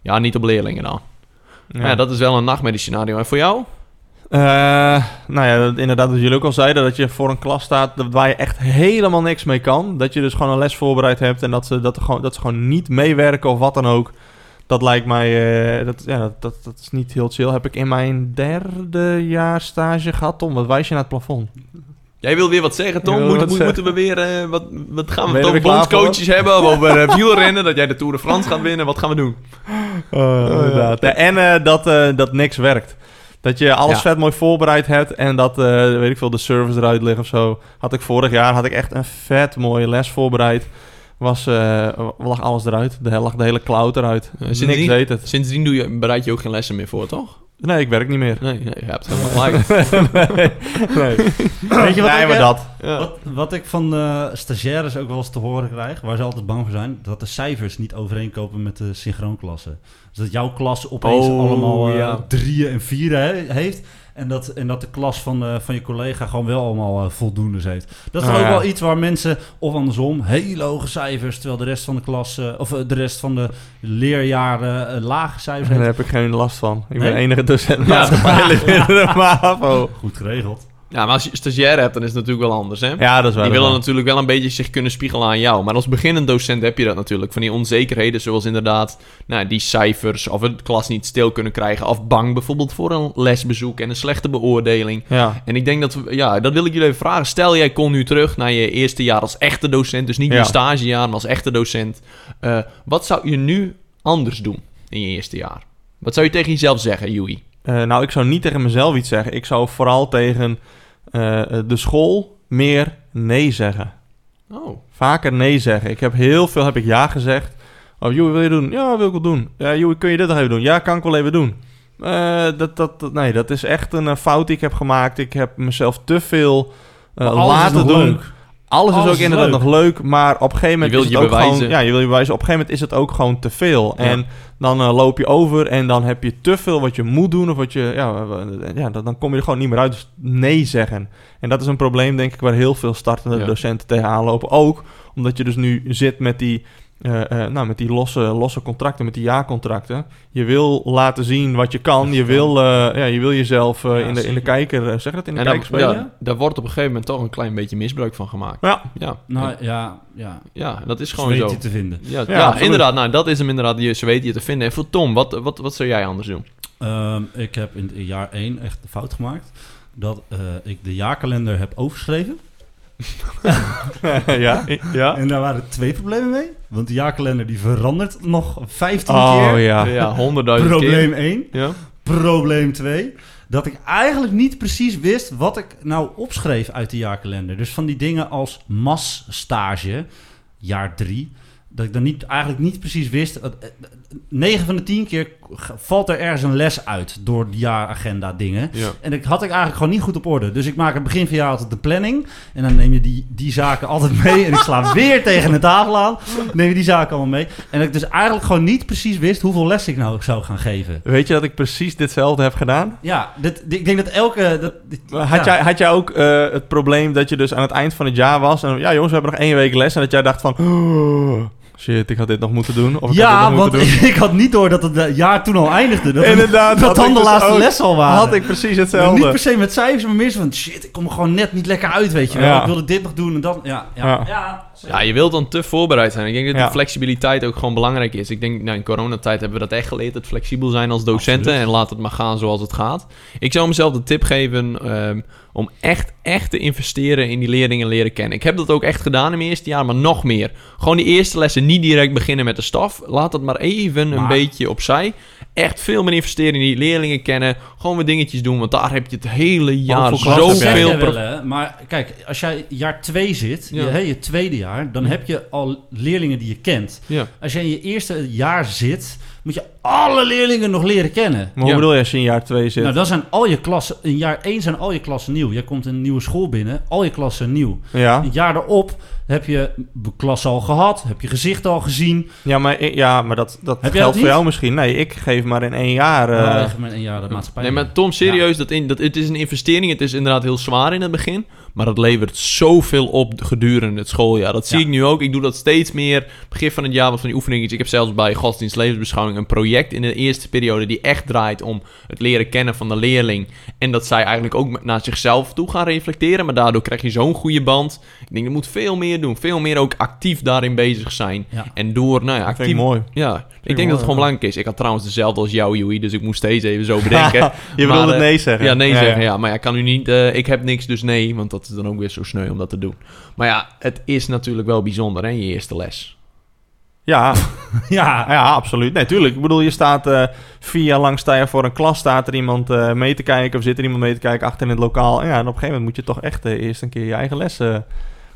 Speaker 1: Ja, niet op leerlingen dan. Ja, dat is wel een nachtmerrie scenario. En voor jou?
Speaker 3: Eh, nou ja, dat- inderdaad wat jullie ook al zeiden, dat je voor een klas staat dat- waar je echt helemaal niks mee kan. Dat je dus gewoon een les voorbereid hebt en dat ze, dat er gewoon, dat ze gewoon niet meewerken of wat dan ook. Dat lijkt mij, eh, dat, ja, dat, dat, dat is niet heel chill. Heb ik in mijn derde jaar stage gehad, Tom, wat wijs je naar het plafond?
Speaker 1: Jij wil weer wat zeggen, Tom?
Speaker 3: Ik wil
Speaker 1: Moet-
Speaker 3: wat
Speaker 1: moet-
Speaker 3: zeggen.
Speaker 1: moeten we weer... eh, wat, wat gaan we
Speaker 3: Ben
Speaker 1: het
Speaker 3: je er
Speaker 1: over
Speaker 3: weer klaar voor?
Speaker 1: bondscoaches hebben? Of over eh, wielrennen? Dat jij de Tour de France gaat winnen? Wat gaan we doen?
Speaker 2: Oh,
Speaker 3: inderdaad. Ja, en eh, dat, eh, dat niks werkt. Dat je alles
Speaker 1: Ja.
Speaker 3: vet mooi voorbereid hebt en dat, eh, weet ik veel, de service eruit ligt of zo. Had ik vorig jaar had ik echt een vet mooie les voorbereid. Was, eh, lag alles eruit. De, lag de hele cloud eruit.
Speaker 1: Eh,
Speaker 3: niks
Speaker 1: sindsdien-
Speaker 3: deed het.
Speaker 1: Sindsdien doe je, bereid je ook geen lessen meer voor, toch?
Speaker 3: Nee, ik werk niet meer.
Speaker 1: Nee, nee je hebt helemaal gelijk.
Speaker 3: nee, nee.
Speaker 2: Weet je wat
Speaker 3: nee
Speaker 2: ik,
Speaker 3: maar
Speaker 2: eh,
Speaker 3: dat.
Speaker 1: Ja.
Speaker 2: Wat, wat ik van eh, stagiaires ook wel eens te horen krijg, waar ze altijd bang voor zijn, dat de cijfers niet overeenkomen met de synchroonklassen. Dus dat jouw klas opeens
Speaker 1: Oh,
Speaker 2: allemaal eh,
Speaker 1: ja.
Speaker 2: drieën en vieren he- heeft. En dat, en dat de klas van, eh, van je collega gewoon wel allemaal eh, voldoendes heeft. Dat is
Speaker 3: Ah,
Speaker 2: toch ook
Speaker 3: ja.
Speaker 2: wel iets waar mensen, of andersom, hele hoge cijfers, terwijl de rest van de klas, eh, of eh, de rest van de leerjaren eh, lage cijfers
Speaker 3: Daar
Speaker 2: heeft.
Speaker 3: heb ik geen last van.
Speaker 2: Nee?
Speaker 3: Ik ben de enige docent maatschappijleer in de MAVO.
Speaker 2: Goed geregeld.
Speaker 1: ja, maar als je stagiair hebt, dan is het natuurlijk wel anders, hè?
Speaker 3: Ja, dat is wel.
Speaker 1: Die willen natuurlijk wel een beetje zich kunnen spiegelen aan jou. Maar als beginnend docent heb je dat natuurlijk. Van die onzekerheden, zoals inderdaad nou, die cijfers, of het klas niet stil kunnen krijgen, of bang bijvoorbeeld voor een lesbezoek en een slechte beoordeling.
Speaker 3: Ja.
Speaker 1: En ik denk dat, we- ja, dat wil ik jullie even vragen. Stel jij kon nu terug naar je eerste jaar als echte docent, dus niet
Speaker 3: Ja.
Speaker 1: je stagejaar, maar als echte docent. Eh, wat zou je nu anders doen in je eerste jaar? Wat zou je tegen jezelf zeggen, Joey?
Speaker 3: Eh, nou, ik zou niet tegen mezelf iets zeggen. Ik zou vooral tegen eh, de school meer nee zeggen.
Speaker 1: Oh,
Speaker 3: Vaker nee zeggen. Ik heb heel veel heb ik ja gezegd. Oh, Joey, wil je doen? Ja, wil ik wel doen. Ja, Joey, kun je dit nog even doen? Ja, kan ik wel even doen. Eh, dat, dat, dat- nee, dat is echt een eh, fout die ik heb gemaakt. Ik heb mezelf te veel eh,
Speaker 2: Maar alles is
Speaker 3: laten
Speaker 2: nog
Speaker 3: doen.
Speaker 2: leuk.
Speaker 3: Alles,
Speaker 2: Alles
Speaker 3: is ook
Speaker 2: is
Speaker 3: inderdaad
Speaker 2: leuk.
Speaker 3: nog leuk, maar op een gegeven moment
Speaker 1: Je wilt
Speaker 3: is
Speaker 1: je
Speaker 3: het ook
Speaker 1: bewijzen.
Speaker 3: gewoon... Ja, je wil je bewijzen. Op een gegeven moment is het ook gewoon te veel.
Speaker 1: Ja.
Speaker 3: En dan eh, loop je over en dan heb je te veel wat je moet doen of wat je... Ja, eh, ja dan dan kom je er gewoon niet meer uit. Dus nee zeggen. En dat is een probleem, denk ik, waar heel veel startende
Speaker 1: Ja.
Speaker 3: docenten tegenaan lopen. Ook omdat je dus nu zit met die... eh, eh, nou, met die losse, losse contracten, met die jaarcontracten. Je wil laten zien wat je kan. Je wil, eh, ja, je wil jezelf eh,
Speaker 2: Ja,
Speaker 3: in, de, in de
Speaker 2: zeker.
Speaker 3: kijker... eh, zeg dat? In de
Speaker 1: en daar,
Speaker 3: kijker spelen?
Speaker 1: ja, daar wordt op een gegeven moment toch een klein beetje misbruik van gemaakt.
Speaker 3: Ja.
Speaker 1: Ja,
Speaker 2: Nou ja, ja.
Speaker 1: ja dat is
Speaker 2: Gewoon
Speaker 1: gewoon
Speaker 2: weet
Speaker 1: zo.
Speaker 2: je te vinden.
Speaker 1: Ja, ja,
Speaker 3: Ja, absoluut.
Speaker 1: inderdaad. Nou, dat is hem inderdaad. Je, ze weten je te vinden. En voor Tom, wat, wat, wat zou jij anders doen?
Speaker 2: Ehm, ik heb in het jaar 1 echt de fout gemaakt. Dat eh, ik de jaarkalender heb overschreven.
Speaker 3: ja? ja?
Speaker 2: En daar waren twee problemen mee. Want de jaarkalender die verandert nog 15
Speaker 3: Oh
Speaker 2: keer.
Speaker 3: ja.
Speaker 1: Ja, honderdduizend keer.
Speaker 2: Probleem 1.
Speaker 1: Ja.
Speaker 2: Probleem 2. Dat ik eigenlijk niet precies wist wat ik nou opschreef uit de jaarkalender. Dus van die dingen als masstage, jaar 3. Dat ik dan niet, eigenlijk niet precies wist. 9 van de 10 keer valt er ergens een les uit door de jaaragenda dingen.
Speaker 1: Ja.
Speaker 2: En dat had ik eigenlijk gewoon niet goed op orde. Dus ik maak aan het begin van het jaar altijd de planning. En dan neem je die, die zaken altijd mee. En ik sla weer tegen de tafel aan. Neem je die zaken allemaal mee. En dat ik dus eigenlijk gewoon niet precies wist hoeveel les ik nou zou gaan geven.
Speaker 3: Weet je dat ik precies ditzelfde heb gedaan?
Speaker 2: Ja, dit, dit- ik denk dat elke... Dat, dit- ja.
Speaker 3: Had, jij, had jij ook eh, het probleem dat je dus aan het eind van het jaar was... en ja jongens, we hebben nog één week les... en dat jij dacht van... "Oh, shit, ik had dit nog moeten doen. Of ik had
Speaker 2: ja,
Speaker 3: dit nog
Speaker 2: want
Speaker 3: moeten doen.
Speaker 2: ik had niet door dat het eh, jaar toen al eindigde. Dat,
Speaker 3: Inderdaad,
Speaker 2: dat
Speaker 3: had ik
Speaker 2: dan de
Speaker 3: dus
Speaker 2: laatste
Speaker 3: ook.
Speaker 2: les al waren.
Speaker 3: Had ik precies hetzelfde.
Speaker 2: Niet per se met cijfers, maar meer zo van... Shit, ik kom er gewoon net niet lekker uit, weet je wel.
Speaker 3: Ja.
Speaker 2: Ik wilde dit nog doen en dat... Ja, ja,
Speaker 3: Ja.
Speaker 2: ja.
Speaker 1: Ja, je wilt dan te voorbereid zijn. Ik denk dat
Speaker 3: Ja.
Speaker 1: de flexibiliteit ook gewoon belangrijk is. Ik denk, nou, in coronatijd hebben we dat echt geleerd. Het flexibel zijn als docenten.
Speaker 2: Absoluut.
Speaker 1: En laat het maar gaan zoals het gaat. Ik zou mezelf de tip geven ehm, om echt, echt te investeren in die leerlingen leren kennen. Ik heb dat ook echt gedaan in mijn eerste jaar, maar nog meer. Gewoon die eerste lessen niet direct beginnen met de staf. Laat dat maar even een
Speaker 2: Maar-
Speaker 1: beetje opzij. Echt veel meer investeren in die leerlingen kennen. Gewoon weer dingetjes doen, want daar heb je het hele jaar
Speaker 3: voor klassen heb jij?
Speaker 1: zoveel...
Speaker 2: Zeg jij
Speaker 1: pro-
Speaker 2: wel, hè? Maar kijk, als jij jaar 2 zit,
Speaker 1: Ja.
Speaker 2: je, hè, je tweede jaar, dan heb je al leerlingen die je kent.
Speaker 1: Ja.
Speaker 2: Als jij in je eerste jaar zit, moet je alle leerlingen nog leren kennen.
Speaker 3: Maar hoe
Speaker 1: Ja.
Speaker 3: bedoel je als je in jaar 2 zit?
Speaker 2: Nou, dan zijn al je klassen, in jaar 1 zijn al je klassen nieuw. Jij komt in een nieuwe school binnen, al je klassen nieuw.
Speaker 3: ja.
Speaker 2: Een jaar erop heb je de klas al gehad, heb je gezicht al gezien.
Speaker 3: ja, maar, ik- ja, maar dat, dat
Speaker 2: Heb jij dat
Speaker 3: geldt voor
Speaker 2: niet?
Speaker 3: jou misschien. Nee, ik geef maar in één jaar... eh,
Speaker 2: Uh, met een jaar de maatschappij.
Speaker 1: Nee, maar Tom, serieus, dat in, dat, het is een investering. Het is inderdaad heel zwaar in het begin. Maar dat levert zoveel op gedurende het schooljaar. Dat zie
Speaker 2: Ja.
Speaker 1: ik nu ook. Ik doe dat steeds meer. Begin van het jaar was van die oefeningetjes. Ik heb zelfs bij godsdienst levensbeschouwing een project in de eerste periode... die echt draait om het leren kennen van de leerling. En dat zij eigenlijk ook met- naar zichzelf toe gaan reflecteren. Maar daardoor krijg je zo'n goede band. Ik denk, je moet veel meer doen. Veel meer ook actief daarin bezig zijn.
Speaker 2: Ja.
Speaker 1: En door, nou ja,
Speaker 3: dat vind
Speaker 1: actief...
Speaker 3: ik mooi.
Speaker 1: Ja, ik denk
Speaker 3: mooi,
Speaker 1: dat het
Speaker 3: ja.
Speaker 1: gewoon belangrijk is. Ik had trouwens dezelfde als jou, Joey, dus ik moest steeds even zo bedenken.
Speaker 3: je bedoelt
Speaker 1: Maar,
Speaker 3: het
Speaker 1: eh,
Speaker 3: nee zeggen.
Speaker 1: Ja, nee zeggen. Ja. Maar ja, kan u niet. eh, ik heb niks, dus nee. Want dat is dan ook weer zo sneu om dat te doen. Maar ja, het is natuurlijk wel bijzonder, hè, je eerste les.
Speaker 3: Ja, ja, ja, absoluut. Nee, tuurlijk. Ik bedoel, je staat eh, vier jaar lang sta je voor een klas, staat er iemand eh, mee te kijken of zit er iemand mee te kijken achter in het lokaal. En ja, en op een gegeven moment moet je toch echt eh, eerst een keer je eigen les eh,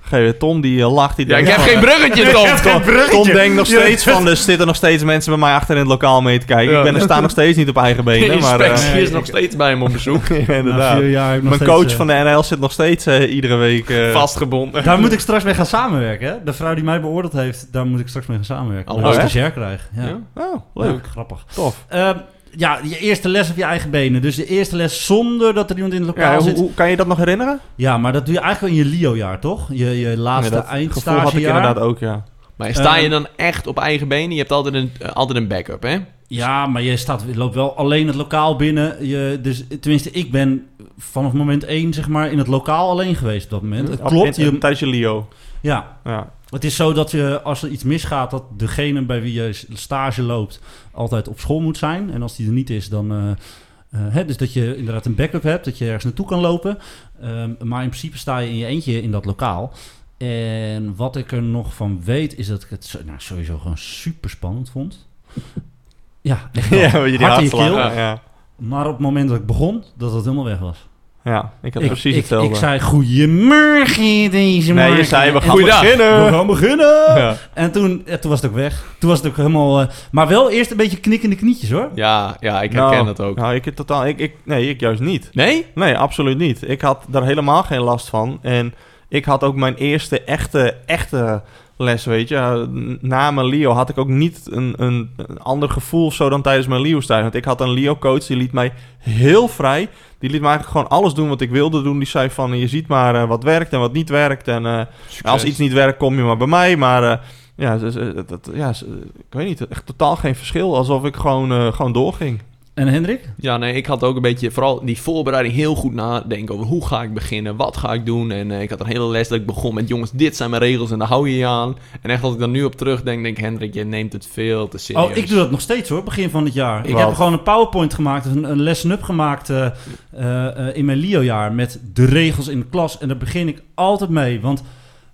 Speaker 3: geven. Tom die eh, lacht, die
Speaker 1: Ja, ik
Speaker 3: denkt
Speaker 1: heb
Speaker 3: van,
Speaker 1: geen
Speaker 3: eh,
Speaker 1: bruggetje, Tom.
Speaker 3: Tom, Tom denkt nog
Speaker 2: Je-
Speaker 3: steeds van, er zitten nog steeds mensen bij mij achter in het lokaal mee te kijken.
Speaker 1: Ja.
Speaker 3: Ik ben er staan nog steeds niet op eigen
Speaker 1: De
Speaker 3: benen, maar... eh,
Speaker 1: inspectie
Speaker 2: nee,
Speaker 1: is nog
Speaker 2: ik-
Speaker 1: steeds bij hem op bezoek.
Speaker 3: ja,
Speaker 2: Na
Speaker 3: inderdaad.
Speaker 2: vier jaar heb ik nog
Speaker 3: Mijn
Speaker 2: steeds,
Speaker 3: coach
Speaker 2: eh,
Speaker 3: van de NL zit nog steeds eh, iedere week... eh,
Speaker 1: Vastgebonden.
Speaker 2: Daar moet ik straks mee gaan samenwerken. Hè? De vrouw die mij beoordeeld heeft, daar moet ik straks mee gaan samenwerken.
Speaker 1: Oh,
Speaker 2: Als ik
Speaker 1: echt?
Speaker 2: een stagiair krijg. Ja.
Speaker 1: Ja?
Speaker 3: Oh,
Speaker 2: Leuk,
Speaker 3: leuk.
Speaker 2: grappig.
Speaker 3: Tof.
Speaker 2: Ehm, ja, je eerste les op je eigen benen. Dus je eerste les zonder dat er iemand in het lokaal
Speaker 3: Ja, hoe,
Speaker 2: zit.
Speaker 3: hoe- kan je dat nog herinneren?
Speaker 2: Ja, maar dat doe je eigenlijk wel in je LIO-jaar, toch? Je, je laatste
Speaker 3: Nee, dat gevoel had ik
Speaker 2: eindstagejaar.
Speaker 3: inderdaad ook, ja.
Speaker 1: Maar sta je
Speaker 2: Eh,
Speaker 1: dan echt op eigen benen? Je hebt altijd een, eh, altijd een backup, hè?
Speaker 2: Ja, maar je, staat, je loopt wel alleen het lokaal binnen. Je, dus, tenminste, ik ben vanaf moment één zeg maar, in het lokaal alleen geweest op dat moment. Het
Speaker 3: Op-
Speaker 2: klopt.
Speaker 3: in-
Speaker 2: Je,
Speaker 3: Tijdens je Lio.
Speaker 2: ja,
Speaker 3: Ja.
Speaker 2: Het is zo dat je, als er iets misgaat, dat degene bij wie je stage loopt altijd op school moet zijn. En als die er niet is, dan. eh, eh, hè, dus dat je inderdaad een backup hebt, dat je ergens naartoe kan lopen. Ehm, maar in principe sta je in je eentje in dat lokaal. En wat ik er nog van weet, is dat ik het zo- nou, sowieso gewoon super spannend vond. Ja, echt wel.
Speaker 3: Ja, weet je, die
Speaker 2: Hard in je
Speaker 3: hartslag.
Speaker 2: keel.
Speaker 3: Ja, ja.
Speaker 2: Maar op het moment dat ik begon, dat het helemaal weg was.
Speaker 3: Ja, ik had
Speaker 2: ik,
Speaker 3: precies
Speaker 2: ik,
Speaker 3: hetzelfde.
Speaker 2: Ik zei, goedemorgen deze
Speaker 3: nee, je
Speaker 2: morgen."
Speaker 3: zei, we
Speaker 2: En-
Speaker 3: gaan
Speaker 1: Goeiedag.
Speaker 3: beginnen.
Speaker 2: We gaan beginnen!
Speaker 3: Ja.
Speaker 2: En toen, ja, toen was het ook weg. Toen was het ook helemaal... eh, maar wel eerst een beetje knikkende knietjes, hoor.
Speaker 1: Ja, ja ik
Speaker 3: Nou,
Speaker 1: herken dat ook.
Speaker 3: Nou, ik heb totaal... Ik, ik, nee, ik juist niet.
Speaker 1: Nee?
Speaker 3: Nee, absoluut niet. Ik had daar helemaal geen last van. En ik had ook mijn eerste echte, echte les, weet je. Na mijn Leo had ik ook niet een, een, een ander gevoel of zo dan tijdens mijn Leo stage. Want ik had een Leo-coach, die liet mij heel vrij. Die liet mij eigenlijk gewoon alles doen wat ik wilde doen. Die zei van, je ziet maar eh, wat werkt en wat niet werkt. En eh, als iets niet werkt, kom je maar bij mij. Maar eh, ja, ze- ze- dat, ja ze- ik weet niet, echt totaal geen verschil. Alsof ik gewoon, eh, gewoon doorging.
Speaker 2: En Hendrik?
Speaker 1: Ja, nee, ik had ook een beetje, vooral die voorbereiding, heel goed nadenken over hoe ga ik beginnen, wat ga ik doen. En eh, ik had een hele les dat ik begon met, jongens, dit zijn mijn regels en daar hou je je aan. En echt als ik daar nu op terugdenk, denk ik, Hendrik, je neemt het veel te serieus.
Speaker 2: Oh, ik doe dat nog steeds, hoor. Begin van het jaar. Ik
Speaker 3: Wat?
Speaker 2: heb gewoon een powerpoint gemaakt, een, een lesson-up gemaakt eh, eh, eh, in mijn LIO-jaar met de regels in de klas. En daar begin ik altijd mee, want...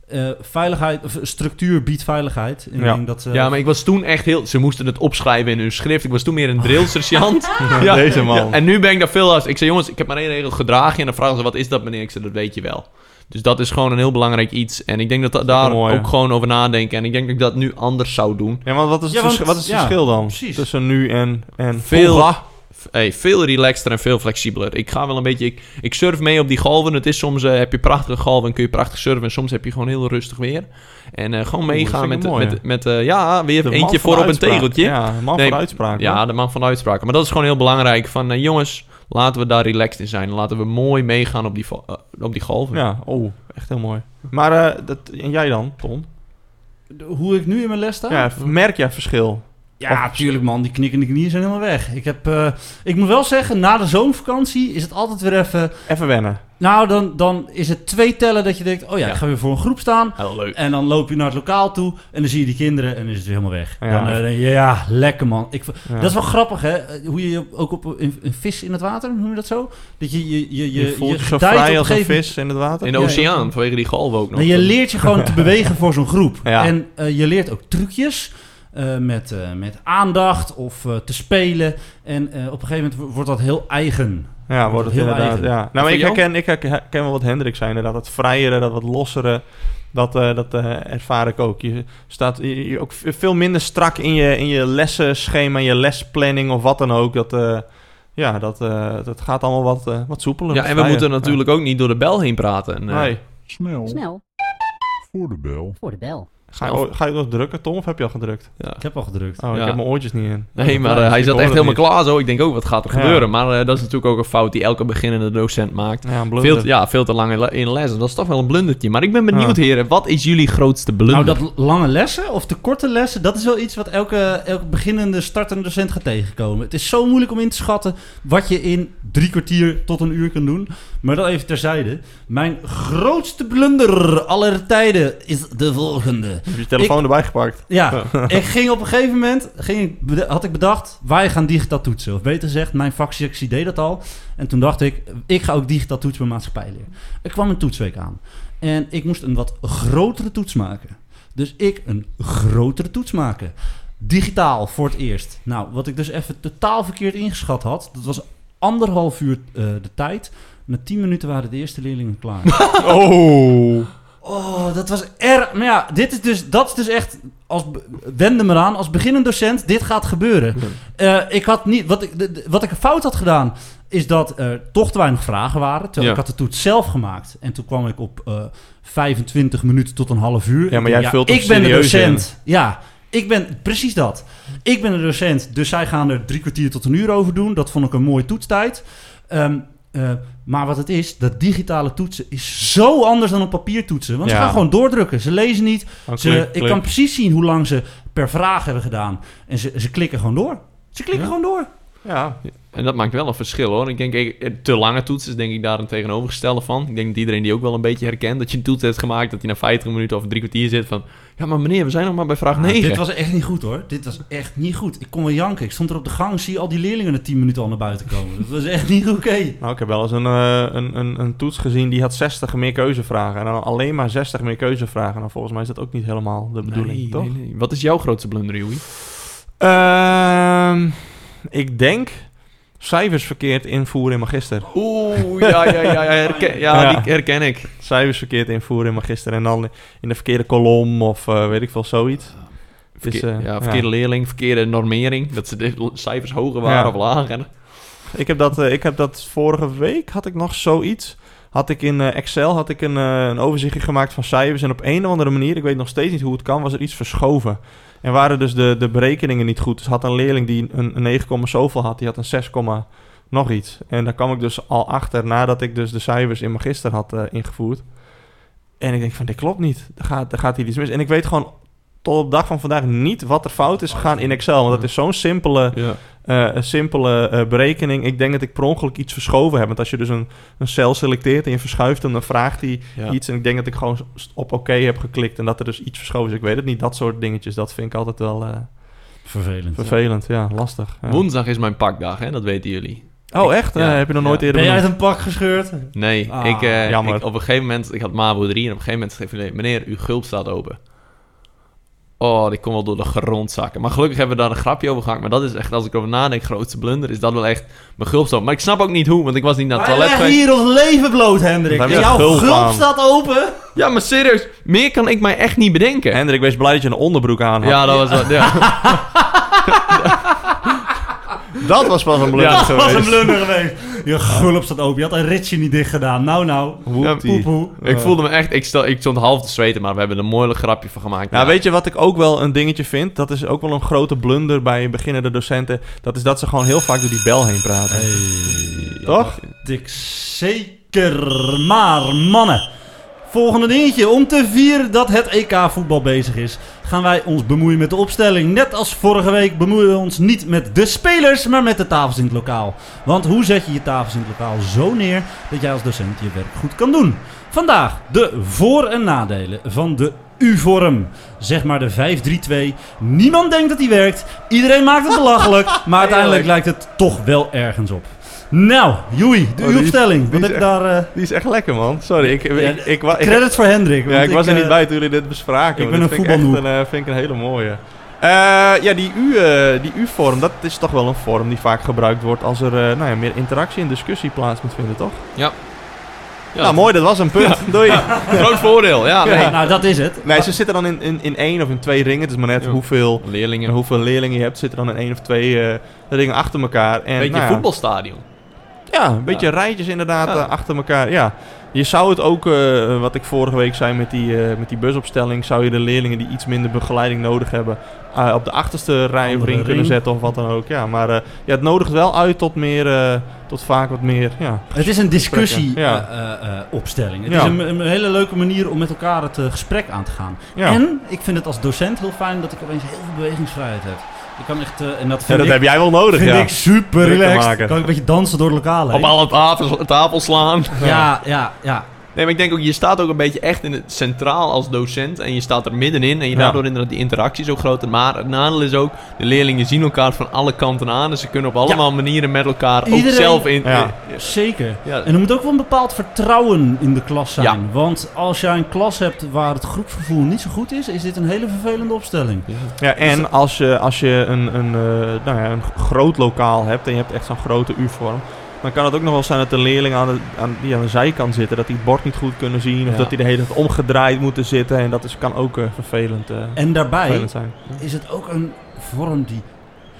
Speaker 2: eh, veiligheid, of structuur biedt veiligheid. En ik
Speaker 3: Ja.
Speaker 2: denk dat, eh,
Speaker 1: Ja, maar ik was toen echt heel... Ze moesten het opschrijven in hun schrift. Ik was toen meer een
Speaker 2: Oh.
Speaker 1: drillsergeant. Ja.
Speaker 3: Deze man.
Speaker 1: Ja, en nu ben ik daar veel als... Ik zei, jongens, ik heb maar één regel gedragen. En dan vragen ze, wat is dat, meneer? Ik zei, dat weet je wel. Dus dat is gewoon een heel belangrijk iets. En ik denk dat, da- daar
Speaker 3: mooi, hè?
Speaker 1: ook gewoon over nadenken. En ik denk dat ik dat nu anders zou doen.
Speaker 3: Ja, maar wat is het,
Speaker 2: Ja, want-
Speaker 3: verschil, wat is het
Speaker 2: ja,
Speaker 3: verschil dan?
Speaker 2: precies.
Speaker 3: Tussen nu en, en
Speaker 1: Veel-
Speaker 3: vroeger?
Speaker 1: F- Hey, veel relaxter en veel flexibeler. Ik ga wel een beetje... Ik, ik surf mee op die golven. Het is soms... eh, heb je prachtige golven en kun je prachtig surfen. En soms heb je gewoon heel rustig weer. En eh, gewoon
Speaker 3: Oeh, dat
Speaker 1: meegaan
Speaker 3: vind ik
Speaker 1: met...
Speaker 3: mooi,
Speaker 1: met, met, eh, ja, weer
Speaker 3: De man
Speaker 1: eentje
Speaker 3: van
Speaker 1: voor op een
Speaker 3: uitspraak.
Speaker 1: tegeltje.
Speaker 3: Ja, de man
Speaker 1: Nee,
Speaker 3: van uitspraak.
Speaker 1: Ja, de man van de uitspraken. Maar dat is gewoon heel belangrijk. Van eh, jongens, laten we daar relaxed in zijn. Laten we mooi meegaan op die, vo- eh, op die golven.
Speaker 3: Ja, oh, echt heel mooi. Maar eh, dat, en jij dan, Tom?
Speaker 2: hoe ik nu in mijn les sta?
Speaker 3: Ja, merk jij verschil?
Speaker 2: Ja,
Speaker 3: Of-
Speaker 2: natuurlijk man. Die knikkende knieën zijn helemaal weg. Ik, heb, eh, ik moet wel zeggen, na de zomervakantie is het altijd weer even...
Speaker 3: Even wennen.
Speaker 2: Nou, dan, dan is het twee tellen dat je denkt... oh ja,
Speaker 1: Ja.
Speaker 2: ik ga weer voor een groep staan.
Speaker 1: Heel leuk.
Speaker 2: En dan loop je naar het lokaal toe en dan zie je die kinderen en dan is het weer helemaal weg.
Speaker 3: Ja.
Speaker 2: Ja, dan, eh, denk je, ja lekker man. Ik, v-
Speaker 3: Ja.
Speaker 2: Dat is wel grappig, hè? Eh, Hoe je ook op een, een vis in het water, noem je dat zo? Dat je je, je,
Speaker 3: je,
Speaker 2: je,
Speaker 3: voelt je zo
Speaker 2: gedijt op
Speaker 3: vrij als een
Speaker 2: gegeven-
Speaker 3: vis in het water.
Speaker 1: In de
Speaker 2: Ja, ja.
Speaker 1: oceaan, vanwege die golven ook nog.
Speaker 2: Nee, je leert je gewoon te bewegen voor zo'n groep.
Speaker 3: Ja.
Speaker 2: En eh, je leert ook trucjes eh, met, eh, met aandacht of eh, te spelen. En eh, op een gegeven moment wo- wordt dat heel eigen.
Speaker 3: Ja, wordt het
Speaker 2: Heel
Speaker 3: inderdaad.
Speaker 2: eigen.
Speaker 3: Ja. Nou, maar ik
Speaker 1: voor jou?
Speaker 3: herken, ik herken wel wat Hendrik zei inderdaad. Dat vrijere, dat wat lossere, dat, eh, dat eh, ervaar ik ook. Je staat je, je ook v- veel minder strak in je, in je lessenschema, je lesplanning of wat dan ook. Dat, eh, ja, dat, eh, dat gaat allemaal wat, eh, wat soepeler.
Speaker 1: Ja,
Speaker 3: wat
Speaker 1: en we
Speaker 3: vrijer.
Speaker 1: moeten
Speaker 3: Ja.
Speaker 1: natuurlijk ook niet door de bel heen praten. eh, Nee.
Speaker 3: Nee.
Speaker 4: Snel,
Speaker 6: Snel
Speaker 4: voor de bel.
Speaker 6: voor de bel.
Speaker 3: Ga, je, o- ga je nog drukken, Tom, of heb je al gedrukt?
Speaker 1: Ja.
Speaker 2: Ik heb al gedrukt.
Speaker 3: Oh, ik
Speaker 1: Ja.
Speaker 3: heb mijn oortjes niet in.
Speaker 1: Nee, maar eh,
Speaker 3: Ja,
Speaker 1: hij
Speaker 3: ik
Speaker 1: zat
Speaker 3: hoor
Speaker 1: echt
Speaker 3: het
Speaker 1: helemaal
Speaker 3: niet.
Speaker 1: klaar zo. Ik denk ook, wat gaat er
Speaker 3: Ja.
Speaker 1: gebeuren? Maar eh, dat is natuurlijk ook een fout die elke beginnende docent maakt.
Speaker 3: Ja, een blunder.
Speaker 1: Veel, te- ja, veel te lang in le- in les. En dat is toch wel een blundertje. Maar ik ben benieuwd,
Speaker 3: Ja.
Speaker 1: heren. Wat is jullie grootste blunder?
Speaker 2: Nou, dat lange lessen of te korte lessen, dat is wel iets wat elke, elke beginnende startende docent gaat tegenkomen. Het is zo moeilijk om in te schatten wat je in drie kwartier tot een uur kunt doen. Maar dat even terzijde. Mijn grootste blunder aller tijden is de volgende. hebben.
Speaker 3: Heb je je telefoon
Speaker 2: Ik-
Speaker 3: erbij gepakt?
Speaker 2: Ja, ik ging op een gegeven moment, ging ik, beda- had ik bedacht, wij gaan digitaal toetsen. Of beter gezegd, mijn vakjectie deed dat al. En toen dacht ik, ik ga ook digitaal toetsen bij maatschappij leren. Er kwam een toetsweek aan. En ik moest een wat grotere toets maken. Dus ik een grotere toets maken. Digitaal voor het eerst. Nou, wat ik dus even totaal verkeerd ingeschat had, dat was anderhalf uur eh, de tijd. Na tien minuten waren de eerste leerlingen klaar.
Speaker 3: Oh.
Speaker 2: Oh, dat was erg. Maar ja, dit is dus, dat is dus echt. Als, be- wende me aan, als beginnend docent, dit gaat gebeuren. Eh, ik had niet, wat, ik, de- de- wat ik fout had gedaan, is dat er toch te weinig vragen waren. Terwijl
Speaker 1: Ja.
Speaker 2: ik had de toets zelf gemaakt. En toen kwam ik op eh 25 minuten tot een half uur.
Speaker 3: Ja, maar
Speaker 2: Ik
Speaker 3: jij
Speaker 2: denk,
Speaker 3: vult hem
Speaker 2: Ik ben de
Speaker 3: serieus
Speaker 2: docent. Ja, ik ben precies dat. Ik ben de docent, dus zij gaan er drie kwartier tot een uur over doen. Dat vond ik een mooie toetstijd. Ehm, eh, maar wat het is, dat digitale toetsen is zo anders dan op papier toetsen. Want ze
Speaker 3: Ja.
Speaker 2: gaan gewoon doordrukken. Ze lezen niet.
Speaker 3: Dan
Speaker 2: Ze,
Speaker 3: klik,
Speaker 2: ik
Speaker 3: klik.
Speaker 2: kan precies zien hoe lang ze per vraag hebben gedaan. En ze, ze klikken gewoon door. Ze klikken
Speaker 3: Ja.
Speaker 2: gewoon door.
Speaker 3: Ja.
Speaker 1: En dat maakt wel een verschil hoor. Ik denk, ik- eh, te lange toets is denk ik daar een tegenovergestelde van. Ik denk dat iedereen die ook wel een beetje herkent dat je een toets hebt gemaakt, dat hij na 50 minuten of drie kwartier zit van, ja maar meneer, we zijn nog maar bij
Speaker 3: Nou,
Speaker 1: vraag
Speaker 2: Ah,
Speaker 1: 9.
Speaker 2: dit was echt niet goed hoor. Dit was echt niet goed. Ik kon wel janken. Ik stond er op de gang, zie al die leerlingen na 10 minuten al naar buiten komen. Dat was echt niet oké.
Speaker 3: Nou, ik heb wel eens een, eh, een, een, een toets gezien die had 60 meer keuzevragen. En dan alleen maar 60 meer keuzevragen. Nou, volgens mij is dat ook niet helemaal de bedoeling,
Speaker 1: Nee,
Speaker 3: toch?
Speaker 1: nee, nee. Wat is jouw grootste blunder, Joey?
Speaker 3: Ehm, ik denk cijfers verkeerd invoeren in magister.
Speaker 1: Oeh, ja, ja, ja, ja, herken, ja,
Speaker 3: Ja.
Speaker 1: die herken ik.
Speaker 3: Cijfers verkeerd invoeren in magister. En dan in de verkeerde kolom of eh, weet ik veel, zoiets. Het is,
Speaker 1: Verkeer-
Speaker 3: eh,
Speaker 1: ja, verkeerde leerling, verkeerde normering. Dat ze de cijfers hoger waren
Speaker 3: Ja.
Speaker 1: of lager.
Speaker 3: Ik heb, dat, eh, ik heb dat vorige week, had ik nog zoiets. Had ik in eh, Excel had ik een, eh, een overzichtje gemaakt van cijfers. En op een of andere manier, ik weet nog steeds niet hoe het kan, was er iets verschoven. En waren dus de, de berekeningen niet goed. Dus had een leerling die een, een 9, komma zoveel had, die had een 6, komma nog iets. En daar kwam ik dus al achter nadat ik dus de cijfers in magister had eh, ingevoerd. En ik denk van, dit klopt niet. Er gaat, er gaat hier iets mis. En ik weet gewoon tot op de dag van vandaag niet wat er fout is gegaan in Excel. Want dat is zo'n simpele
Speaker 1: Ja.
Speaker 3: eh, een simpele eh, berekening. Ik denk dat ik per ongeluk iets verschoven heb. Want als je dus een, een cel selecteert en je verschuift hem, dan vraagt hij iets. En ik denk dat ik gewoon s- op oké heb geklikt en dat er dus iets verschoven is. Ik weet het niet. Dat soort dingetjes, dat vind ik altijd wel eh,
Speaker 2: Vervelend.
Speaker 3: vervelend. Ja, lastig. Ja.
Speaker 1: Woensdag is mijn pakdag, hè? dat weten jullie.
Speaker 3: Oh, echt?
Speaker 1: Ja.
Speaker 3: Eh, heb je nog
Speaker 1: Ja.
Speaker 3: nooit eerder
Speaker 2: Ben jij uit
Speaker 3: benoemd?
Speaker 2: een pak gescheurd?
Speaker 1: Nee,
Speaker 2: Ah,
Speaker 1: ik, eh,
Speaker 3: jammer.
Speaker 1: ik- op een gegeven moment, ik had MAVO 3 en op een gegeven moment schreef hij, meneer, uw gulp staat open. Oh, die kon wel door de grond zakken. Maar gelukkig hebben we daar een grapje over gemaakt. Maar dat is echt, als ik erover nadenk, grootste blunder is dat wel echt mijn gulp staat open. Maar ik snap ook niet hoe, want ik was niet naar het
Speaker 2: Wij
Speaker 1: toilet
Speaker 2: leggen
Speaker 1: geweest.
Speaker 2: hier ons leven bloot, Hendrik.
Speaker 3: Wij
Speaker 2: En
Speaker 3: hebben
Speaker 2: jouw
Speaker 3: gulp
Speaker 2: gulp
Speaker 3: aan.
Speaker 2: staat open.
Speaker 1: Ja, maar serieus, meer kan ik mij echt niet bedenken.
Speaker 3: Hendrik, wees blij dat je een onderbroek aan had.
Speaker 1: ja, dat was wel, ja.
Speaker 3: Dat was pas een blunder
Speaker 1: Ja,
Speaker 2: Dat was een
Speaker 3: geweest.
Speaker 2: blunder geweest. Je gulp staat open. Je had een ritje niet dicht gedaan. Nou, nou.
Speaker 3: Woeptie.
Speaker 2: Poepoe.
Speaker 1: Ik voelde me echt, ik, stel, ik stond half te zweten, maar we hebben er een mooi grapje van gemaakt.
Speaker 3: Nou, weet je wat ik ook wel een dingetje vind? Dat is ook wel een grote blunder bij beginnende docenten. Dat is dat ze gewoon heel vaak door die bel heen praten.
Speaker 1: je,
Speaker 3: toch?
Speaker 2: Dik zeker. Maar mannen. Volgende dingetje. Om te vieren dat het EK voetbal bezig is, gaan wij ons bemoeien met de opstelling. Net als vorige week bemoeien we ons niet met de spelers, maar met de tafels in het lokaal. Want hoe zet je je tafels in het lokaal zo neer dat jij als docent je werk goed kan doen? Vandaag de voor- en nadelen van de U-vorm. Zeg maar de 5-3-2. Niemand denkt dat die werkt. Iedereen maakt het belachelijk. Maar uiteindelijk lijkt het toch wel ergens op. Nou, Joey, de
Speaker 3: Oh, die-
Speaker 2: U-opstelling.
Speaker 3: die
Speaker 2: Wat
Speaker 3: is
Speaker 2: heb je
Speaker 3: echt-
Speaker 2: daar... eh,
Speaker 3: Die is echt lekker, man. Sorry, ik, ik, ik, ik, wa- ik-
Speaker 2: Credit voor Hendrik. want
Speaker 3: Ja, ik was er
Speaker 2: eh,
Speaker 3: niet bij toen jullie dit bespraken.
Speaker 2: ik
Speaker 3: maar
Speaker 2: ben
Speaker 3: dit
Speaker 2: een
Speaker 3: vind echt
Speaker 2: voetbalnoep.
Speaker 3: een, eh, vind ik een hele mooie. Eh, ja, die, U, eh, die U-vorm, dat is toch wel een vorm die vaak gebruikt wordt als er eh, nou ja, meer interactie en discussie plaats moet vinden, toch?
Speaker 1: Ja,
Speaker 3: nou, mooi, dat was een punt. Doei.
Speaker 1: Groot voordeel, ja.
Speaker 2: ja,
Speaker 1: Nee.
Speaker 2: nou, dat is het.
Speaker 3: Nee, ze zitten dan in, in, in één of in twee ringen. Het is maar net
Speaker 1: Ja.
Speaker 3: hoeveel,
Speaker 1: Leerlingen, een
Speaker 3: hoeveel leerlingen je hebt, zitten dan in één of twee eh, ringen achter elkaar. En,
Speaker 1: beetje
Speaker 3: nou ja,
Speaker 1: voetbalstadion.
Speaker 3: Ja, een beetje rijtjes inderdaad
Speaker 1: Ja.
Speaker 3: eh, achter elkaar. Ja. Je zou het ook, eh, wat ik vorige week zei met die, eh, met die busopstelling, zou je de leerlingen die iets minder begeleiding nodig hebben eh, op de achterste rij of
Speaker 2: Andere
Speaker 3: ring kunnen
Speaker 2: ring.
Speaker 3: zetten of wat dan ook. Ja, maar eh, ja, het nodigt wel uit tot, meer, eh, tot vaak wat meer. Ja.
Speaker 2: Het is een eh,
Speaker 3: Ja.
Speaker 2: discussie-opstelling. het
Speaker 3: Ja.
Speaker 2: is een, een hele leuke manier om met elkaar het eh, gesprek aan te gaan.
Speaker 3: Ja.
Speaker 2: En ik vind het als docent heel fijn dat ik opeens heel veel bewegingsvrijheid heb. Ik kan echt, eh, en dat
Speaker 3: Ja,
Speaker 2: vind
Speaker 3: dat
Speaker 2: ik,
Speaker 3: heb jij wel nodig,
Speaker 2: vind
Speaker 3: ja.
Speaker 2: ik super
Speaker 3: Druk te
Speaker 2: relaxed.
Speaker 3: maken.
Speaker 2: Kan ik een beetje dansen door de lokalen.
Speaker 1: Op alle tafels, tafels slaan.
Speaker 2: Ja, ja, ja.
Speaker 1: Nee, maar ik denk ook, je staat ook een beetje echt in het centraal als docent. En je staat er middenin. En je
Speaker 3: Ja.
Speaker 1: daardoor inderdaad die interactie zo groot. Maar het nadeel is ook, de leerlingen zien elkaar van alle kanten aan. Dus ze kunnen op allemaal manieren met elkaar ook
Speaker 2: Iedereen-
Speaker 1: zelf in.
Speaker 3: Ja.
Speaker 2: Zeker.
Speaker 1: Ja.
Speaker 2: En er moet ook wel een bepaald vertrouwen in de klas zijn. Want als jij een klas hebt waar het groepsgevoel niet zo goed is, is dit een hele vervelende opstelling.
Speaker 3: Ja, en als je, als je een, een, eh, nou ja, een groot lokaal hebt en je hebt echt zo'n grote U-vorm, dan kan het ook nog wel zijn dat de leerlingen aan de, aan, die aan de zijkant zitten, dat die het bord niet goed kunnen zien of
Speaker 1: Ja.
Speaker 3: dat die de hele tijd omgedraaid moeten zitten. En dat is, kan ook eh, vervelend, eh,
Speaker 2: En daarbij
Speaker 3: vervelend zijn.
Speaker 2: is het ook een vorm die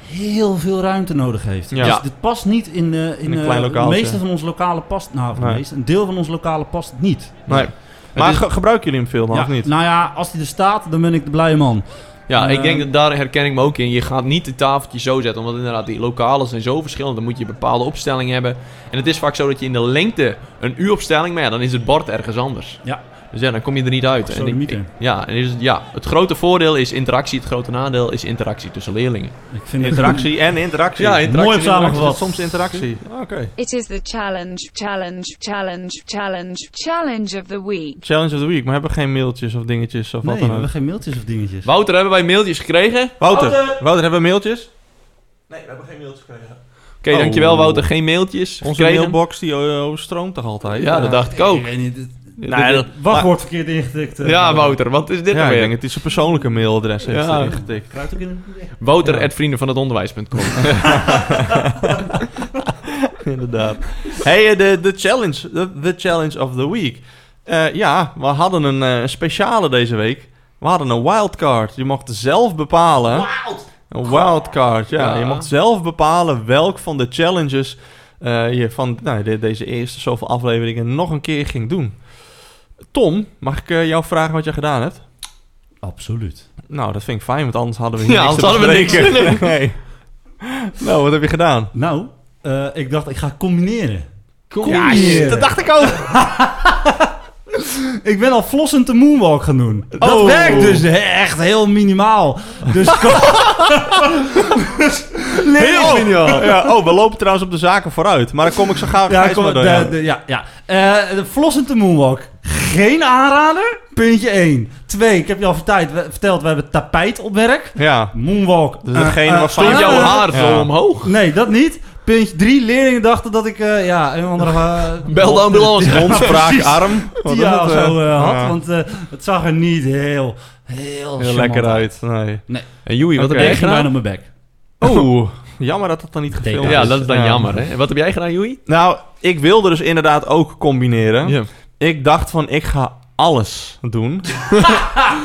Speaker 2: heel veel ruimte nodig heeft.
Speaker 3: Ja.
Speaker 2: Dus
Speaker 1: Ja.
Speaker 2: dit past niet in... eh, in,
Speaker 3: In een
Speaker 2: eh,
Speaker 3: klein
Speaker 2: de
Speaker 3: lokaaltje.
Speaker 2: meeste van ons lokale past... Nou, van de
Speaker 3: Nee.
Speaker 2: meeste, een deel van ons lokale past niet.
Speaker 3: Nee. Maar
Speaker 1: Het is-
Speaker 3: ge- gebruiken jullie hem veel dan,
Speaker 2: ja,
Speaker 3: of niet?
Speaker 2: Nou ja, als die er staat, dan ben ik de blije man.
Speaker 1: Ja,
Speaker 2: Eh,
Speaker 1: ik denk dat daar herken ik me ook in. Je gaat niet het tafeltje zo zetten, omdat inderdaad die lokalen zijn zo verschillend. Dan moet je een bepaalde opstelling hebben. En het is vaak zo dat je in de lengte een U-opstelling, maar ja, dan is het bord ergens anders.
Speaker 2: Ja.
Speaker 1: Dus ja, dan kom je er niet uit. En ik,
Speaker 2: Absoluut.
Speaker 1: ja, en is het, ja, het grote voordeel is interactie, het grote nadeel is interactie tussen leerlingen.
Speaker 2: Ik vind het-
Speaker 3: Interactie en interactie.
Speaker 1: Ja, interactie
Speaker 2: Mooi
Speaker 1: en interactie.
Speaker 2: samengevat.
Speaker 3: Soms interactie. Ah, Oké.
Speaker 6: It is the challenge, challenge, challenge, challenge, challenge of the week.
Speaker 3: Challenge of the week, maar hebben we geen mailtjes of dingetjes of
Speaker 2: Nee, we
Speaker 3: wat dan ook?
Speaker 2: hebben geen mailtjes of dingetjes.
Speaker 1: Wouter, hebben wij mailtjes gekregen? Oké,
Speaker 3: Wouter, Wouter, hebben we mailtjes? Nee, we hebben geen mailtjes gekregen. Oh.
Speaker 1: dankjewel Wouter. Geen mailtjes
Speaker 3: Onze
Speaker 1: gekregen.
Speaker 3: mailbox die eh, overstroomt toch altijd?
Speaker 1: Ja, dat dacht ik ook.
Speaker 2: Ik weet niet. het-
Speaker 1: Nee, dat-
Speaker 2: Wachtwoord verkeerd ingetikt. eh.
Speaker 1: Ja, Wouter, wat is dit
Speaker 3: Ja,
Speaker 1: nou
Speaker 3: ik
Speaker 1: weer?
Speaker 3: denk het is een persoonlijke mailadres heeft
Speaker 1: Ja.
Speaker 3: hij ingetikt.
Speaker 2: Kruid ook in een-
Speaker 1: Wouter,
Speaker 3: Ja.
Speaker 1: at vrienden van het onderwijs.com.
Speaker 3: Inderdaad. hey, eh, de, de challenge. De, de challenge of the week. Eh, ja, we hadden een eh, speciale deze week. We hadden een wildcard. Je mocht zelf bepalen. Een wildcard, ja.
Speaker 1: Ja.
Speaker 3: Je mocht zelf bepalen welk van de challenges eh, je van nou, de- deze eerste zoveel afleveringen nog een keer ging doen. Tom, mag ik eh, jou vragen wat jij gedaan hebt?
Speaker 2: Absoluut.
Speaker 3: Nou, dat vind ik fijn, want anders hadden we hier
Speaker 1: Ja,
Speaker 3: niks
Speaker 1: anders
Speaker 3: te
Speaker 1: hadden we
Speaker 3: bespreken. nee. Nou, wat heb je gedaan?
Speaker 2: Nou, eh, ik dacht, ik ga combineren.
Speaker 3: Ja, shit, dat dacht ik ook.
Speaker 2: Ik ben al flossend de moonwalk gaan doen. Dat
Speaker 3: Oh.
Speaker 2: werkt dus he- echt heel minimaal. Dus... dus
Speaker 3: Heel geniaal. Ja, oh, we lopen trouwens op de zaken vooruit. Maar dan kom ik zo gauw
Speaker 2: Ja,
Speaker 3: Gijs
Speaker 2: kom,
Speaker 3: maar
Speaker 2: de,
Speaker 3: door, ja.
Speaker 2: de- ja, ja. Eh, de flossend de moonwalk. Geen aanrader. Puntje 1. 2. Ik heb je al verteld, we, verteld, we hebben tapijt op werk.
Speaker 3: Ja.
Speaker 2: Moonwalk.
Speaker 3: Dus datgene
Speaker 2: eh,
Speaker 3: wat
Speaker 2: eh,
Speaker 3: van
Speaker 1: Stond jouw
Speaker 2: eh,
Speaker 1: haar
Speaker 3: Ja.
Speaker 1: zo omhoog?
Speaker 2: Nee, dat niet. Puntje 3. Leerlingen dachten dat ik eh, ja, een of andere... eh,
Speaker 1: Bel de ambulance.
Speaker 3: Mondspraakarm. Wat Oh, is
Speaker 2: Tia
Speaker 3: dat,
Speaker 2: of
Speaker 3: eh?
Speaker 2: zo eh, had.
Speaker 3: Ja.
Speaker 2: Want eh, het zag er niet heel, heel,
Speaker 3: Heel lekker uit. Nee.
Speaker 1: En Joey, wat
Speaker 3: Oké.
Speaker 1: heb
Speaker 2: Ik
Speaker 1: jij
Speaker 2: ging bijna
Speaker 1: gedaan?
Speaker 2: op mijn bek.
Speaker 3: Oeh, jammer dat dat dan niet gefilmd is.
Speaker 1: Ja, dat is dan
Speaker 3: Ja.
Speaker 1: jammer, hè? En Wat heb jij gedaan, Joey?
Speaker 3: Nou, ik wilde dus inderdaad ook combineren.
Speaker 1: Ja.
Speaker 3: Ik dacht van, ik ga alles doen.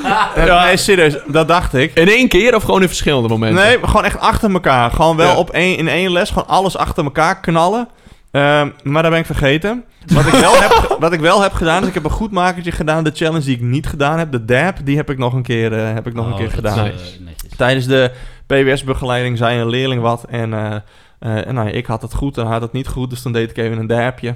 Speaker 3: ja. Nee, serieus, dat dacht ik.
Speaker 1: In één keer of gewoon in verschillende momenten?
Speaker 3: Nee, gewoon echt achter elkaar. Gewoon wel
Speaker 1: Ja.
Speaker 3: op één, in één les, gewoon alles achter elkaar knallen. Ehm, maar dat ben ik vergeten. Wat ik, wel heb, wat ik wel heb gedaan, is ik heb een goed makertje gedaan. De challenge die ik niet gedaan heb, de dab, die heb ik nog een keer, eh, heb ik nog een keer gedaan.
Speaker 1: Oh, nice.
Speaker 3: Tijdens de PWS-begeleiding zei een leerling wat. En, eh, eh, en nou, ja, ik had het goed en hij had het niet goed. Dus dan deed ik even een dabje.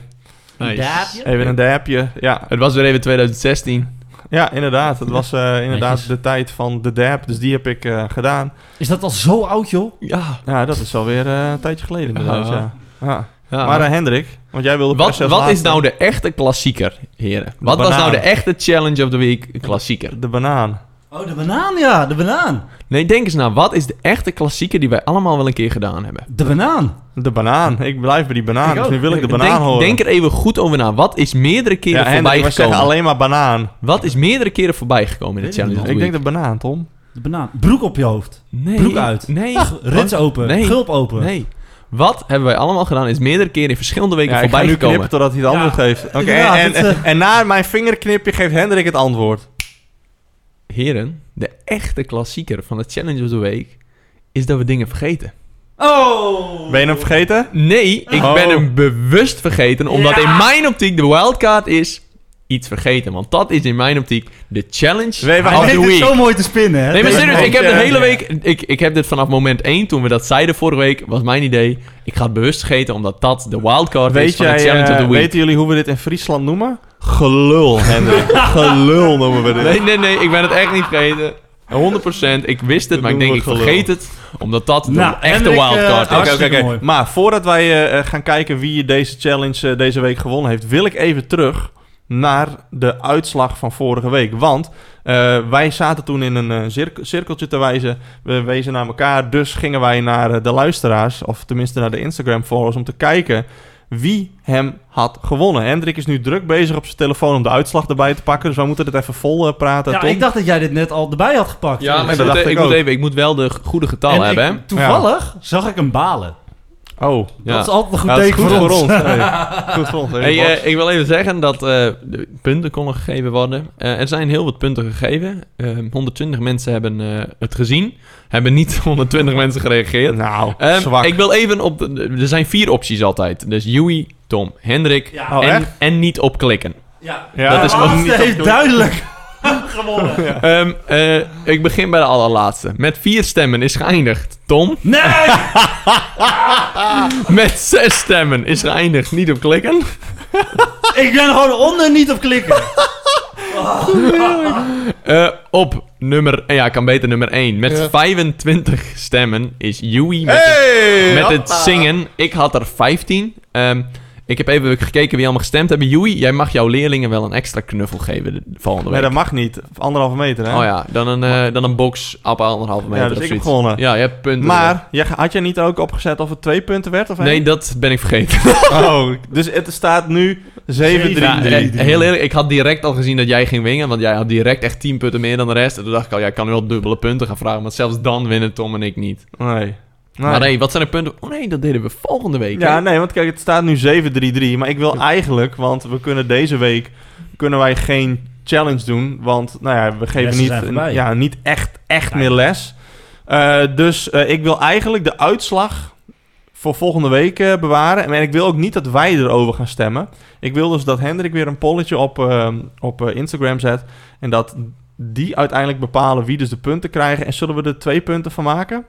Speaker 1: Nice.
Speaker 3: Even een dabje. Ja,
Speaker 1: Het was weer even 2016.
Speaker 3: ja inderdaad. Het was eh, inderdaad
Speaker 2: Netjes.
Speaker 3: de tijd van de dab. Dus die heb ik eh, gedaan.
Speaker 2: Is dat al zo oud, joh?
Speaker 1: Ja.
Speaker 3: Ja, dat is alweer eh een tijdje geleden inderdaad.
Speaker 1: Ja.
Speaker 3: Ja. Ja.
Speaker 1: ja.
Speaker 3: Maar eh, Hendrik, want jij wilde per
Speaker 1: wat
Speaker 3: se als
Speaker 1: wat is
Speaker 3: laatste
Speaker 1: nou de echte klassieker, heren? Wat was
Speaker 3: banaan.
Speaker 1: nou de echte challenge of the week klassieker?
Speaker 3: de banaan.
Speaker 2: Oh, de banaan, ja, de banaan.
Speaker 1: Nee, denk eens na. Wat is de echte klassieker die wij allemaal wel een keer gedaan hebben?
Speaker 2: De banaan.
Speaker 3: De banaan. Ik blijf bij die banaan.
Speaker 2: Ik
Speaker 3: dus
Speaker 2: ook.
Speaker 3: nu wil ik de banaan
Speaker 1: denk,
Speaker 3: horen.
Speaker 1: Denk er even goed over na. Wat is meerdere
Speaker 3: ja,
Speaker 1: keren
Speaker 3: Hendrik,
Speaker 1: voorbij
Speaker 3: we
Speaker 1: gekomen?
Speaker 3: zeggen alleen maar banaan.
Speaker 1: Wat is meerdere keren voorbij gekomen in de
Speaker 2: Weet ik
Speaker 1: challenge of the
Speaker 3: Ik denk
Speaker 1: week?
Speaker 3: de banaan, Tom.
Speaker 2: De banaan. Broek op je hoofd.
Speaker 1: Nee.
Speaker 2: Broek uit.
Speaker 1: Nee.
Speaker 2: Rits open.
Speaker 1: Nee.
Speaker 2: Gulp open.
Speaker 1: Nee. Wat hebben wij allemaal gedaan is meerdere keren in verschillende weken
Speaker 3: Ja, ik ga
Speaker 1: voorbij
Speaker 3: nu
Speaker 1: gekomen.
Speaker 3: knippen totdat hij het
Speaker 2: Ja,
Speaker 3: antwoord geeft. Oké,
Speaker 2: inderdaad,
Speaker 3: en, en,
Speaker 2: het,
Speaker 3: en na mijn vingerknipje geeft Hendrik het antwoord.
Speaker 1: Heren, de echte klassieker van de Challenge of the Week is dat we dingen vergeten.
Speaker 2: Oh!
Speaker 3: Ben je hem vergeten?
Speaker 1: Nee, ik
Speaker 3: Oh.
Speaker 1: ben hem bewust vergeten, omdat
Speaker 2: Ja.
Speaker 1: in mijn optiek de wildcard is iets vergeten. Want dat is in mijn optiek de Challenge
Speaker 3: Weet je waar-
Speaker 1: of
Speaker 2: Hij
Speaker 1: the
Speaker 2: weet het
Speaker 1: Week.
Speaker 2: zo mooi te spinnen, hè?
Speaker 1: Nee, maar
Speaker 3: Ja,
Speaker 1: serieus, ik heb de
Speaker 3: ja,
Speaker 1: hele
Speaker 3: ja.
Speaker 1: week... Ik, ik heb dit vanaf moment 1, toen we dat zeiden vorige week, was mijn idee... Ik ga het bewust vergeten, omdat dat de wildcard is
Speaker 3: Weet
Speaker 1: van
Speaker 3: jij,
Speaker 1: de Challenge of
Speaker 3: eh,
Speaker 1: the Week.
Speaker 3: weten jullie hoe we dit in Friesland noemen? Gelul, Hendrik. Gelul noemen we dit.
Speaker 1: Nee, nee, nee, ik ben het echt niet vergeten. 100%, ik wist het,
Speaker 3: Dat
Speaker 1: maar ik
Speaker 3: doen
Speaker 1: denk,
Speaker 3: we
Speaker 1: ik
Speaker 3: gelul.
Speaker 1: vergeet het, omdat dat de
Speaker 2: Nou,
Speaker 1: echte
Speaker 2: Hendrik, eh,
Speaker 1: wildcard is.
Speaker 3: Oké, oké,
Speaker 2: Hartstikke
Speaker 3: oké.
Speaker 2: mooi.
Speaker 3: Maar voordat wij eh, eh, gaan kijken wie deze challenge eh, deze week gewonnen heeft, wil ik even terug naar de uitslag van vorige week. Want eh, wij zaten toen in een eh, cirk- cirkeltje te wijzen. We wezen naar elkaar. Dus gingen wij naar eh, de luisteraars, of tenminste naar de Instagram-followers, om te kijken wie hem had gewonnen. Hendrik is nu druk bezig op zijn telefoon om de uitslag erbij te pakken. Dus wij moeten dit even vol eh, praten.
Speaker 2: Ja,
Speaker 3: Tom.
Speaker 2: ik dacht dat jij dit net al erbij had gepakt.
Speaker 1: Ja, maar
Speaker 3: dat
Speaker 1: ik moet,
Speaker 3: dacht
Speaker 1: ik,
Speaker 3: ik
Speaker 1: moet
Speaker 3: ook.
Speaker 1: even, ik moet wel de goede getallen
Speaker 2: En ik-
Speaker 1: hebben, hè?
Speaker 2: toevallig zag ik hem balen.
Speaker 3: Oh,
Speaker 1: Ja.
Speaker 2: Dat is altijd een goed
Speaker 3: Ja, dat is
Speaker 2: teken
Speaker 3: goed
Speaker 2: voor ons.
Speaker 3: Nee, goed voor ons. Even
Speaker 1: Hey,
Speaker 3: box.
Speaker 1: eh, ik wil even zeggen dat eh, de punten konden gegeven worden. Eh, er zijn heel wat punten gegeven. Eh, 120 mensen hebben eh, het gezien. Hebben niet 120 mensen
Speaker 2: eh,
Speaker 1: gereageerd.
Speaker 3: nou,
Speaker 1: Ehm,
Speaker 3: zwak.
Speaker 1: ik wil even op... de- er zijn vier opties altijd. Dus Joey, Tom, Hendrik
Speaker 2: Ja.
Speaker 3: Oh,
Speaker 1: en,
Speaker 3: echt?
Speaker 1: en niet op klikken.
Speaker 2: Ja.
Speaker 3: Ja,
Speaker 1: dat is
Speaker 2: De
Speaker 1: nog
Speaker 2: laatste
Speaker 1: niet
Speaker 2: heeft duidelijk gewonnen.
Speaker 1: Ehm, eh, ik begin bij de allerlaatste. Met vier stemmen is geëindigd Tom.
Speaker 2: Nee!
Speaker 1: Met zes stemmen is geëindigd niet op klikken.
Speaker 2: Ik ben gewoon onder niet op klikken.
Speaker 1: Eh, op nummer... eh, ja, ik kan beter nummer 1. Met 25 stemmen is Joey met,
Speaker 3: Hey,
Speaker 1: het, met het
Speaker 3: hoppa.
Speaker 1: zingen. Ik had er 15. Ehm, ik heb even gekeken wie allemaal gestemd hebben. Joey, jij mag jouw leerlingen wel een extra knuffel geven de volgende
Speaker 3: Nee,
Speaker 1: week.
Speaker 3: dat mag niet. Anderhalve meter, hè?
Speaker 1: Oh ja, dan een, eh, dan een box op anderhalve meter
Speaker 3: Ja, dus
Speaker 1: of
Speaker 3: ik heb
Speaker 1: zoiets.
Speaker 3: gewonnen.
Speaker 1: Ja, je hebt punten.
Speaker 3: Maar jij, had jij niet ook opgezet of het twee punten werd? Of één?
Speaker 1: Nee, dat ben ik vergeten.
Speaker 3: Oh, dus het staat nu 7-3.
Speaker 1: Ja,
Speaker 2: Drie,
Speaker 1: eh,
Speaker 2: drie.
Speaker 1: heel eerlijk, ik had direct al gezien dat jij ging wingen, want jij had direct echt 10 punten meer dan de rest. En toen dacht ik al, ja, ik kan wel dubbele punten gaan vragen, maar zelfs dan winnen Tom en ik niet.
Speaker 3: Nee.
Speaker 1: Maar
Speaker 3: nee.
Speaker 1: hey, wat zijn de punten? Oh nee, dat deden we volgende week. hè?
Speaker 3: Ja, nee, want kijk, het staat nu 7-3-3. Maar ik wil eigenlijk, want we kunnen deze week kunnen wij geen challenge doen. Want nou ja, we geven
Speaker 2: Lessen zijn
Speaker 3: niet,
Speaker 2: voorbij.
Speaker 3: ja, niet echt, echt
Speaker 2: Nee.
Speaker 3: meer les. Eh, dus eh, ik wil eigenlijk de uitslag voor volgende week eh, bewaren. En ik wil ook niet dat wij erover gaan stemmen. Ik wil dus dat Hendrik weer een polletje op, eh, op eh, Instagram zet. En dat die uiteindelijk bepalen wie dus de punten krijgen. En zullen we er twee punten van maken?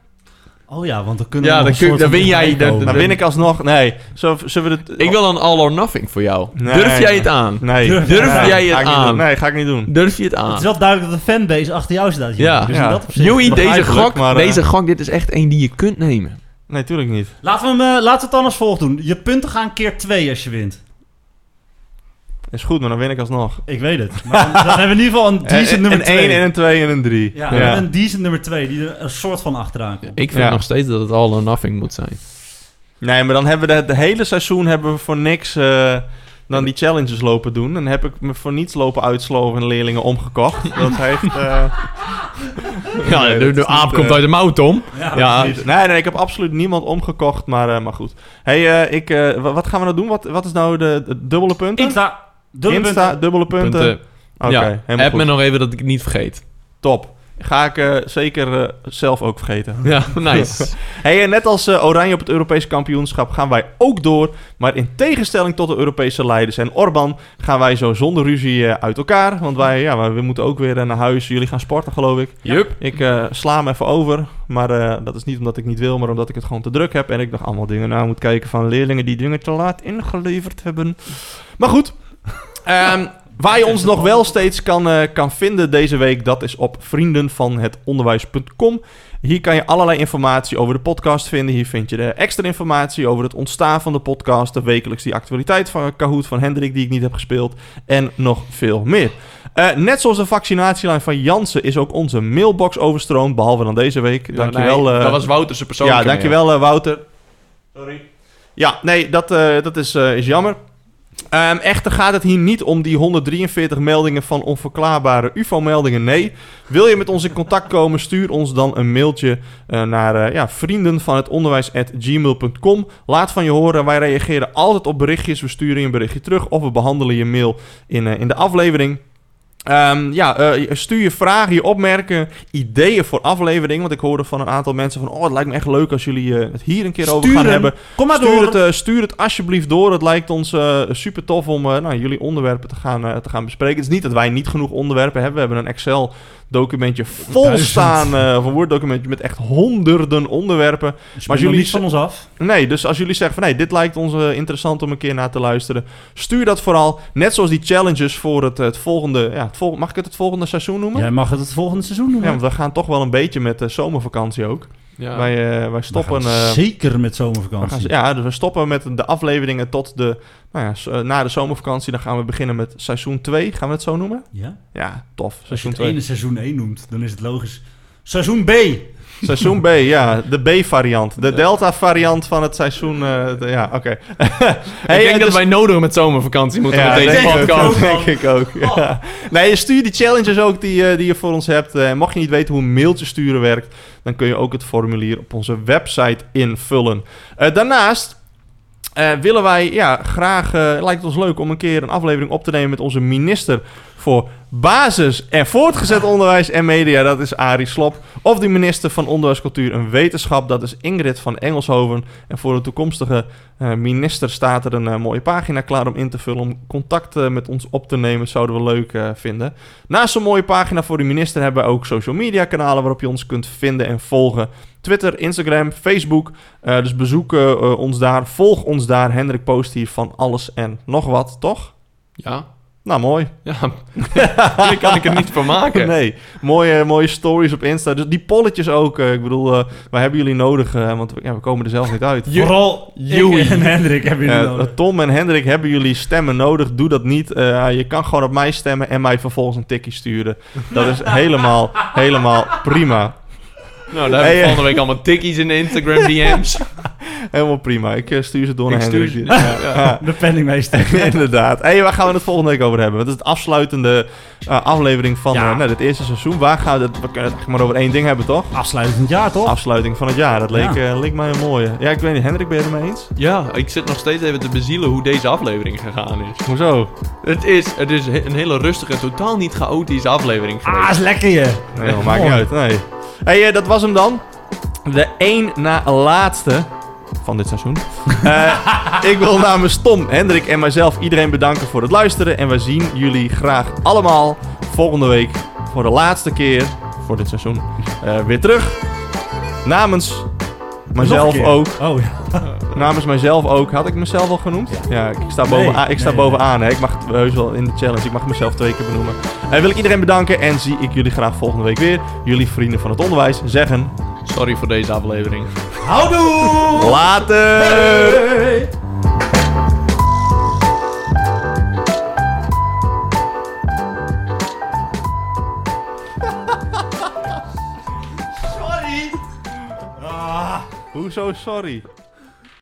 Speaker 2: Oh ja, want dan kunnen we
Speaker 1: Ja,
Speaker 2: nog
Speaker 1: dan kun-
Speaker 2: een soort
Speaker 1: dan win
Speaker 2: van
Speaker 1: jij
Speaker 2: gelijk
Speaker 1: de-
Speaker 2: komen.
Speaker 1: de-
Speaker 3: Dan win ik alsnog. Nee, Zullen we- zullen we het...
Speaker 1: Ik wil een all or nothing voor jou.
Speaker 3: Nee.
Speaker 1: Durf jij het aan?
Speaker 3: Nee.
Speaker 2: Durf
Speaker 3: Nee,
Speaker 1: jij
Speaker 3: ga
Speaker 1: het
Speaker 3: ik niet
Speaker 1: aan?
Speaker 3: doen. Nee, ga ik niet doen.
Speaker 1: Durf je het
Speaker 2: Het is
Speaker 1: aan?
Speaker 2: wel duidelijk dat de fanbase achter jou staat.
Speaker 1: Ah.
Speaker 2: Jimmy.
Speaker 1: Ja.
Speaker 2: Dus in
Speaker 3: Ja.
Speaker 2: dat opzicht-
Speaker 1: Joey, deze
Speaker 3: begrijpelijk,
Speaker 1: gok,
Speaker 3: maar, eh,
Speaker 1: deze gok, dit is echt één die je kunt nemen.
Speaker 3: Nee, tuurlijk niet.
Speaker 2: Laten we, hem, eh, laten we het dan als volgt doen. Je punten gaan keer 2 als je wint.
Speaker 3: Is goed, maar dan win ik alsnog.
Speaker 2: Ik weet het. Maar dan hebben we in ieder geval een
Speaker 3: Eh,
Speaker 2: decent nummer
Speaker 3: een 1 en
Speaker 2: 2.
Speaker 3: een 2 en een 3.
Speaker 2: Ja, we hebben een decent nummer 2 die er een soort van achteraan komt.
Speaker 1: Ik vind
Speaker 3: Ja.
Speaker 1: nog steeds dat het all or nothing moet zijn.
Speaker 3: Nee, maar dan hebben we het hele seizoen hebben we voor niks eh, dan die challenges lopen doen. Dan heb ik me voor niets lopen uitsloven en leerlingen omgekocht. Dat heeft... eh,
Speaker 1: Ja, de,
Speaker 3: dat
Speaker 1: de
Speaker 3: is
Speaker 1: aap
Speaker 3: niet,
Speaker 1: komt
Speaker 3: eh,
Speaker 1: uit de mouw, Tom.
Speaker 2: Ja.
Speaker 1: Ja,
Speaker 3: precies. nee, nee, ik heb absoluut niemand omgekocht, maar, eh, maar goed. hey, eh, ik, eh, wa- wat gaan we nou doen? Wat, wat is nou de, de dubbele punten?
Speaker 2: Insta. Dubbele
Speaker 3: Insta,
Speaker 2: punten.
Speaker 3: dubbele punten.
Speaker 1: punten.
Speaker 3: Oké,
Speaker 1: eh, ja,
Speaker 3: helemaal
Speaker 1: heb
Speaker 3: goed.
Speaker 1: me nog even dat ik het niet vergeet.
Speaker 3: Top. Ga ik eh, zeker eh, zelf ook vergeten.
Speaker 1: Ja, nice.
Speaker 3: Hey, en net als eh, Oranje op het Europese kampioenschap gaan wij ook door. Maar in tegenstelling tot de Europese leiders en Orban gaan wij zo zonder ruzie eh, uit elkaar. Want wij, ja, wij- we moeten ook weer eh, naar huis. Jullie gaan sporten, geloof ik.
Speaker 1: Jup.
Speaker 3: Ik eh, sla hem even over. Maar eh, dat is niet omdat ik niet wil, maar omdat ik het gewoon te druk heb. En ik nog allemaal dingen na moet kijken van leerlingen die dingen te laat ingeleverd hebben. Maar goed. Ehm, waar je ons nog wel steeds kan, eh, kan vinden deze week, dat is op vriendenvanhetonderwijs.com. Hier kan je allerlei informatie over de podcast vinden. Hier vind je de extra informatie over het ontstaan van de podcast, de wekelijks die actualiteit van Kahoot van Hendrik die ik niet heb gespeeld en nog veel meer. Eh, net zoals de vaccinatielijn van Jansen is ook onze mailbox overstroomd, behalve dan deze week. Dankjewel.
Speaker 1: Nee,
Speaker 3: eh,
Speaker 1: dat was Wouter's persoonlijke.
Speaker 3: ja, dankjewel eh, Wouter. Sorry. Ja, nee, dat, eh, dat is, eh, is jammer. Ehm, echter gaat het hier niet om die 143 meldingen van onverklaarbare UFO-meldingen. Nee, wil je met ons in contact komen, stuur ons dan een mailtje eh, naar eh, ja, vrienden van het onderwijs@gmail.com. Laat van je horen, wij reageren altijd op berichtjes. We sturen je een berichtje terug of we behandelen je mail in, eh, in de aflevering. Ehm, ja, eh, stuur je vragen, je opmerken, ideeën voor aflevering. Want ik hoorde van een aantal mensen van... oh, het lijkt me echt leuk als jullie eh, het hier een keer over
Speaker 2: Stuur
Speaker 3: gaan
Speaker 2: hem.
Speaker 3: hebben.
Speaker 2: Kom maar
Speaker 3: Stuur
Speaker 2: door.
Speaker 3: het, eh, stuur het alsjeblieft door. Het lijkt ons eh, super tof om eh, nou, jullie onderwerpen te gaan, eh, te gaan bespreken. Het is niet dat wij niet genoeg onderwerpen hebben. We hebben een Excel-documentje vol
Speaker 2: Duizend.
Speaker 3: staan. eh, of een Word-documentje met echt honderden onderwerpen.
Speaker 2: Dus
Speaker 3: maar
Speaker 2: maar
Speaker 3: jullie-
Speaker 2: jullie van ons af.
Speaker 3: Nee, dus als jullie zeggen van nee, dit lijkt ons eh, interessant om een keer naar te luisteren. Stuur dat vooral. Net zoals die challenges voor het, eh, het volgende. Ja, het vol- mag ik het het volgende seizoen noemen?
Speaker 2: Jij mag het het volgende seizoen doen.
Speaker 3: Ja, want we gaan toch wel een beetje met de eh, zomervakantie ook.
Speaker 1: Ja.
Speaker 3: Wij, eh, wij stoppen...
Speaker 2: We gaan
Speaker 3: eh,
Speaker 2: zeker met
Speaker 3: we gaan-
Speaker 2: zomervakantie.
Speaker 3: ja, dus we stoppen met de afleveringen tot de... Nou ja, s- eh, na de zomervakantie dan gaan we beginnen met seizoen 2. Gaan we het zo noemen?
Speaker 2: Ja?
Speaker 3: Ja, tof.
Speaker 2: Als je
Speaker 3: Seizoen
Speaker 2: het
Speaker 3: 2.
Speaker 2: ene seizoen 1 noemt, dan is het logisch. Seizoen B.
Speaker 3: Seizoen B, ja. De B-variant. De Delta-variant van het seizoen. eh, de- ja, oké. Hey,
Speaker 1: ik denk
Speaker 3: en
Speaker 1: dat
Speaker 3: dus-
Speaker 1: wij nodig met zomervakantie moeten
Speaker 3: ja,
Speaker 1: met deze
Speaker 3: denk ik
Speaker 1: podcast.
Speaker 3: ook, denk ik ook. Ja. Nee, stuur die challenges ook die, eh, die je voor ons hebt. Eh, mocht je niet weten hoe een mailtje sturen werkt, dan kun je ook het formulier op onze website invullen. Eh, daarnaast eh, willen wij ja, graag, eh, lijkt het ons leuk om een keer een aflevering op te nemen met onze minister voor basis en voortgezet onderwijs en media. Dat is Arie Slop. Of de minister van Onderwijs, Cultuur en Wetenschap. Dat is Ingrid van Engelshoven. En voor de toekomstige eh, minister staat er een eh, mooie pagina klaar om in te vullen. Om contact eh, met ons op te nemen zouden we leuk eh, vinden. Naast een mooie pagina voor de minister hebben we ook social media kanalen waarop je ons kunt vinden en volgen. Twitter, Instagram, Facebook. Eh, dus bezoek eh, eh, ons daar. Volg ons daar. Hendrik post hier van alles en nog wat, toch?
Speaker 1: Ja,
Speaker 3: Nou, mooi.
Speaker 1: ja. Hier kan ik er niet van maken.
Speaker 3: Nee, mooie, eh, mooie stories op Insta. Dus die polletjes ook. eh, ik bedoel, eh, wij hebben jullie nodig, eh, want we- ja, we komen er zelf niet uit.
Speaker 1: Je-
Speaker 2: Vooral
Speaker 1: Joey.
Speaker 2: Joey en Hendrik hebben jullie
Speaker 3: Eh,
Speaker 2: nodig.
Speaker 3: Tom en Hendrik, hebben jullie stemmen nodig? Doe dat niet. Eh, je kan gewoon op mij stemmen en mij vervolgens een tikkie sturen. Dat is helemaal, helemaal prima.
Speaker 1: Nou, daar hebben
Speaker 3: Hey,
Speaker 1: we
Speaker 3: eh.
Speaker 1: volgende week allemaal tikkies in de Instagram DM's.
Speaker 3: Helemaal prima. Ik eh, stuur ze door
Speaker 1: Ik
Speaker 3: naar
Speaker 1: stuur
Speaker 3: Hendrik. Ja, ja.
Speaker 2: De penningmeester.
Speaker 3: Inderdaad. hey, waar gaan we het volgende week over hebben? Want het is de afsluitende eh, aflevering van
Speaker 2: Ja.
Speaker 3: eh, nou, dit eerste seizoen. Waar gaan we, het, we kunnen het eigenlijk maar over één ding hebben, toch?
Speaker 2: Afsluitend jaar, toch?
Speaker 3: Afsluiting van het jaar. Dat leek, eh, leek mij een mooie. Ja, ik weet niet. Hendrik, ben je het ermee eens?
Speaker 1: Ja, ik zit nog steeds even te bezielen hoe deze aflevering gegaan is.
Speaker 3: Hoezo?
Speaker 1: Het is, het is he- een hele rustige, totaal niet chaotische aflevering geweest.
Speaker 2: Ah, is lekker je.
Speaker 3: Nee, joh, maakt niet
Speaker 2: Mooi.
Speaker 3: uit. Nee. hey, eh, dat was hem dan. De één na laatste van dit seizoen. Eh, ik wil namens Tom, Hendrik en mijzelf iedereen bedanken voor het luisteren. En we zien jullie graag allemaal volgende week voor de laatste keer voor dit seizoen eh, weer terug. Namens
Speaker 2: Nog een
Speaker 3: mijzelf
Speaker 2: keer.
Speaker 3: ook.
Speaker 2: Oh ja.
Speaker 3: Namens mijzelf ook. Had ik mezelf al genoemd? Ja, ik sta,
Speaker 2: Nee,
Speaker 3: bovenaan, ik sta
Speaker 2: nee,
Speaker 3: bovenaan. Hè. Ik mag het heus wel in de challenge. Ik mag mezelf twee keer benoemen. En wil ik iedereen bedanken en zie ik jullie graag volgende week weer. Jullie vrienden van het onderwijs zeggen...
Speaker 1: Sorry voor deze aflevering.
Speaker 2: Houdoe!
Speaker 3: Later!
Speaker 2: Ah.
Speaker 3: Hoezo sorry?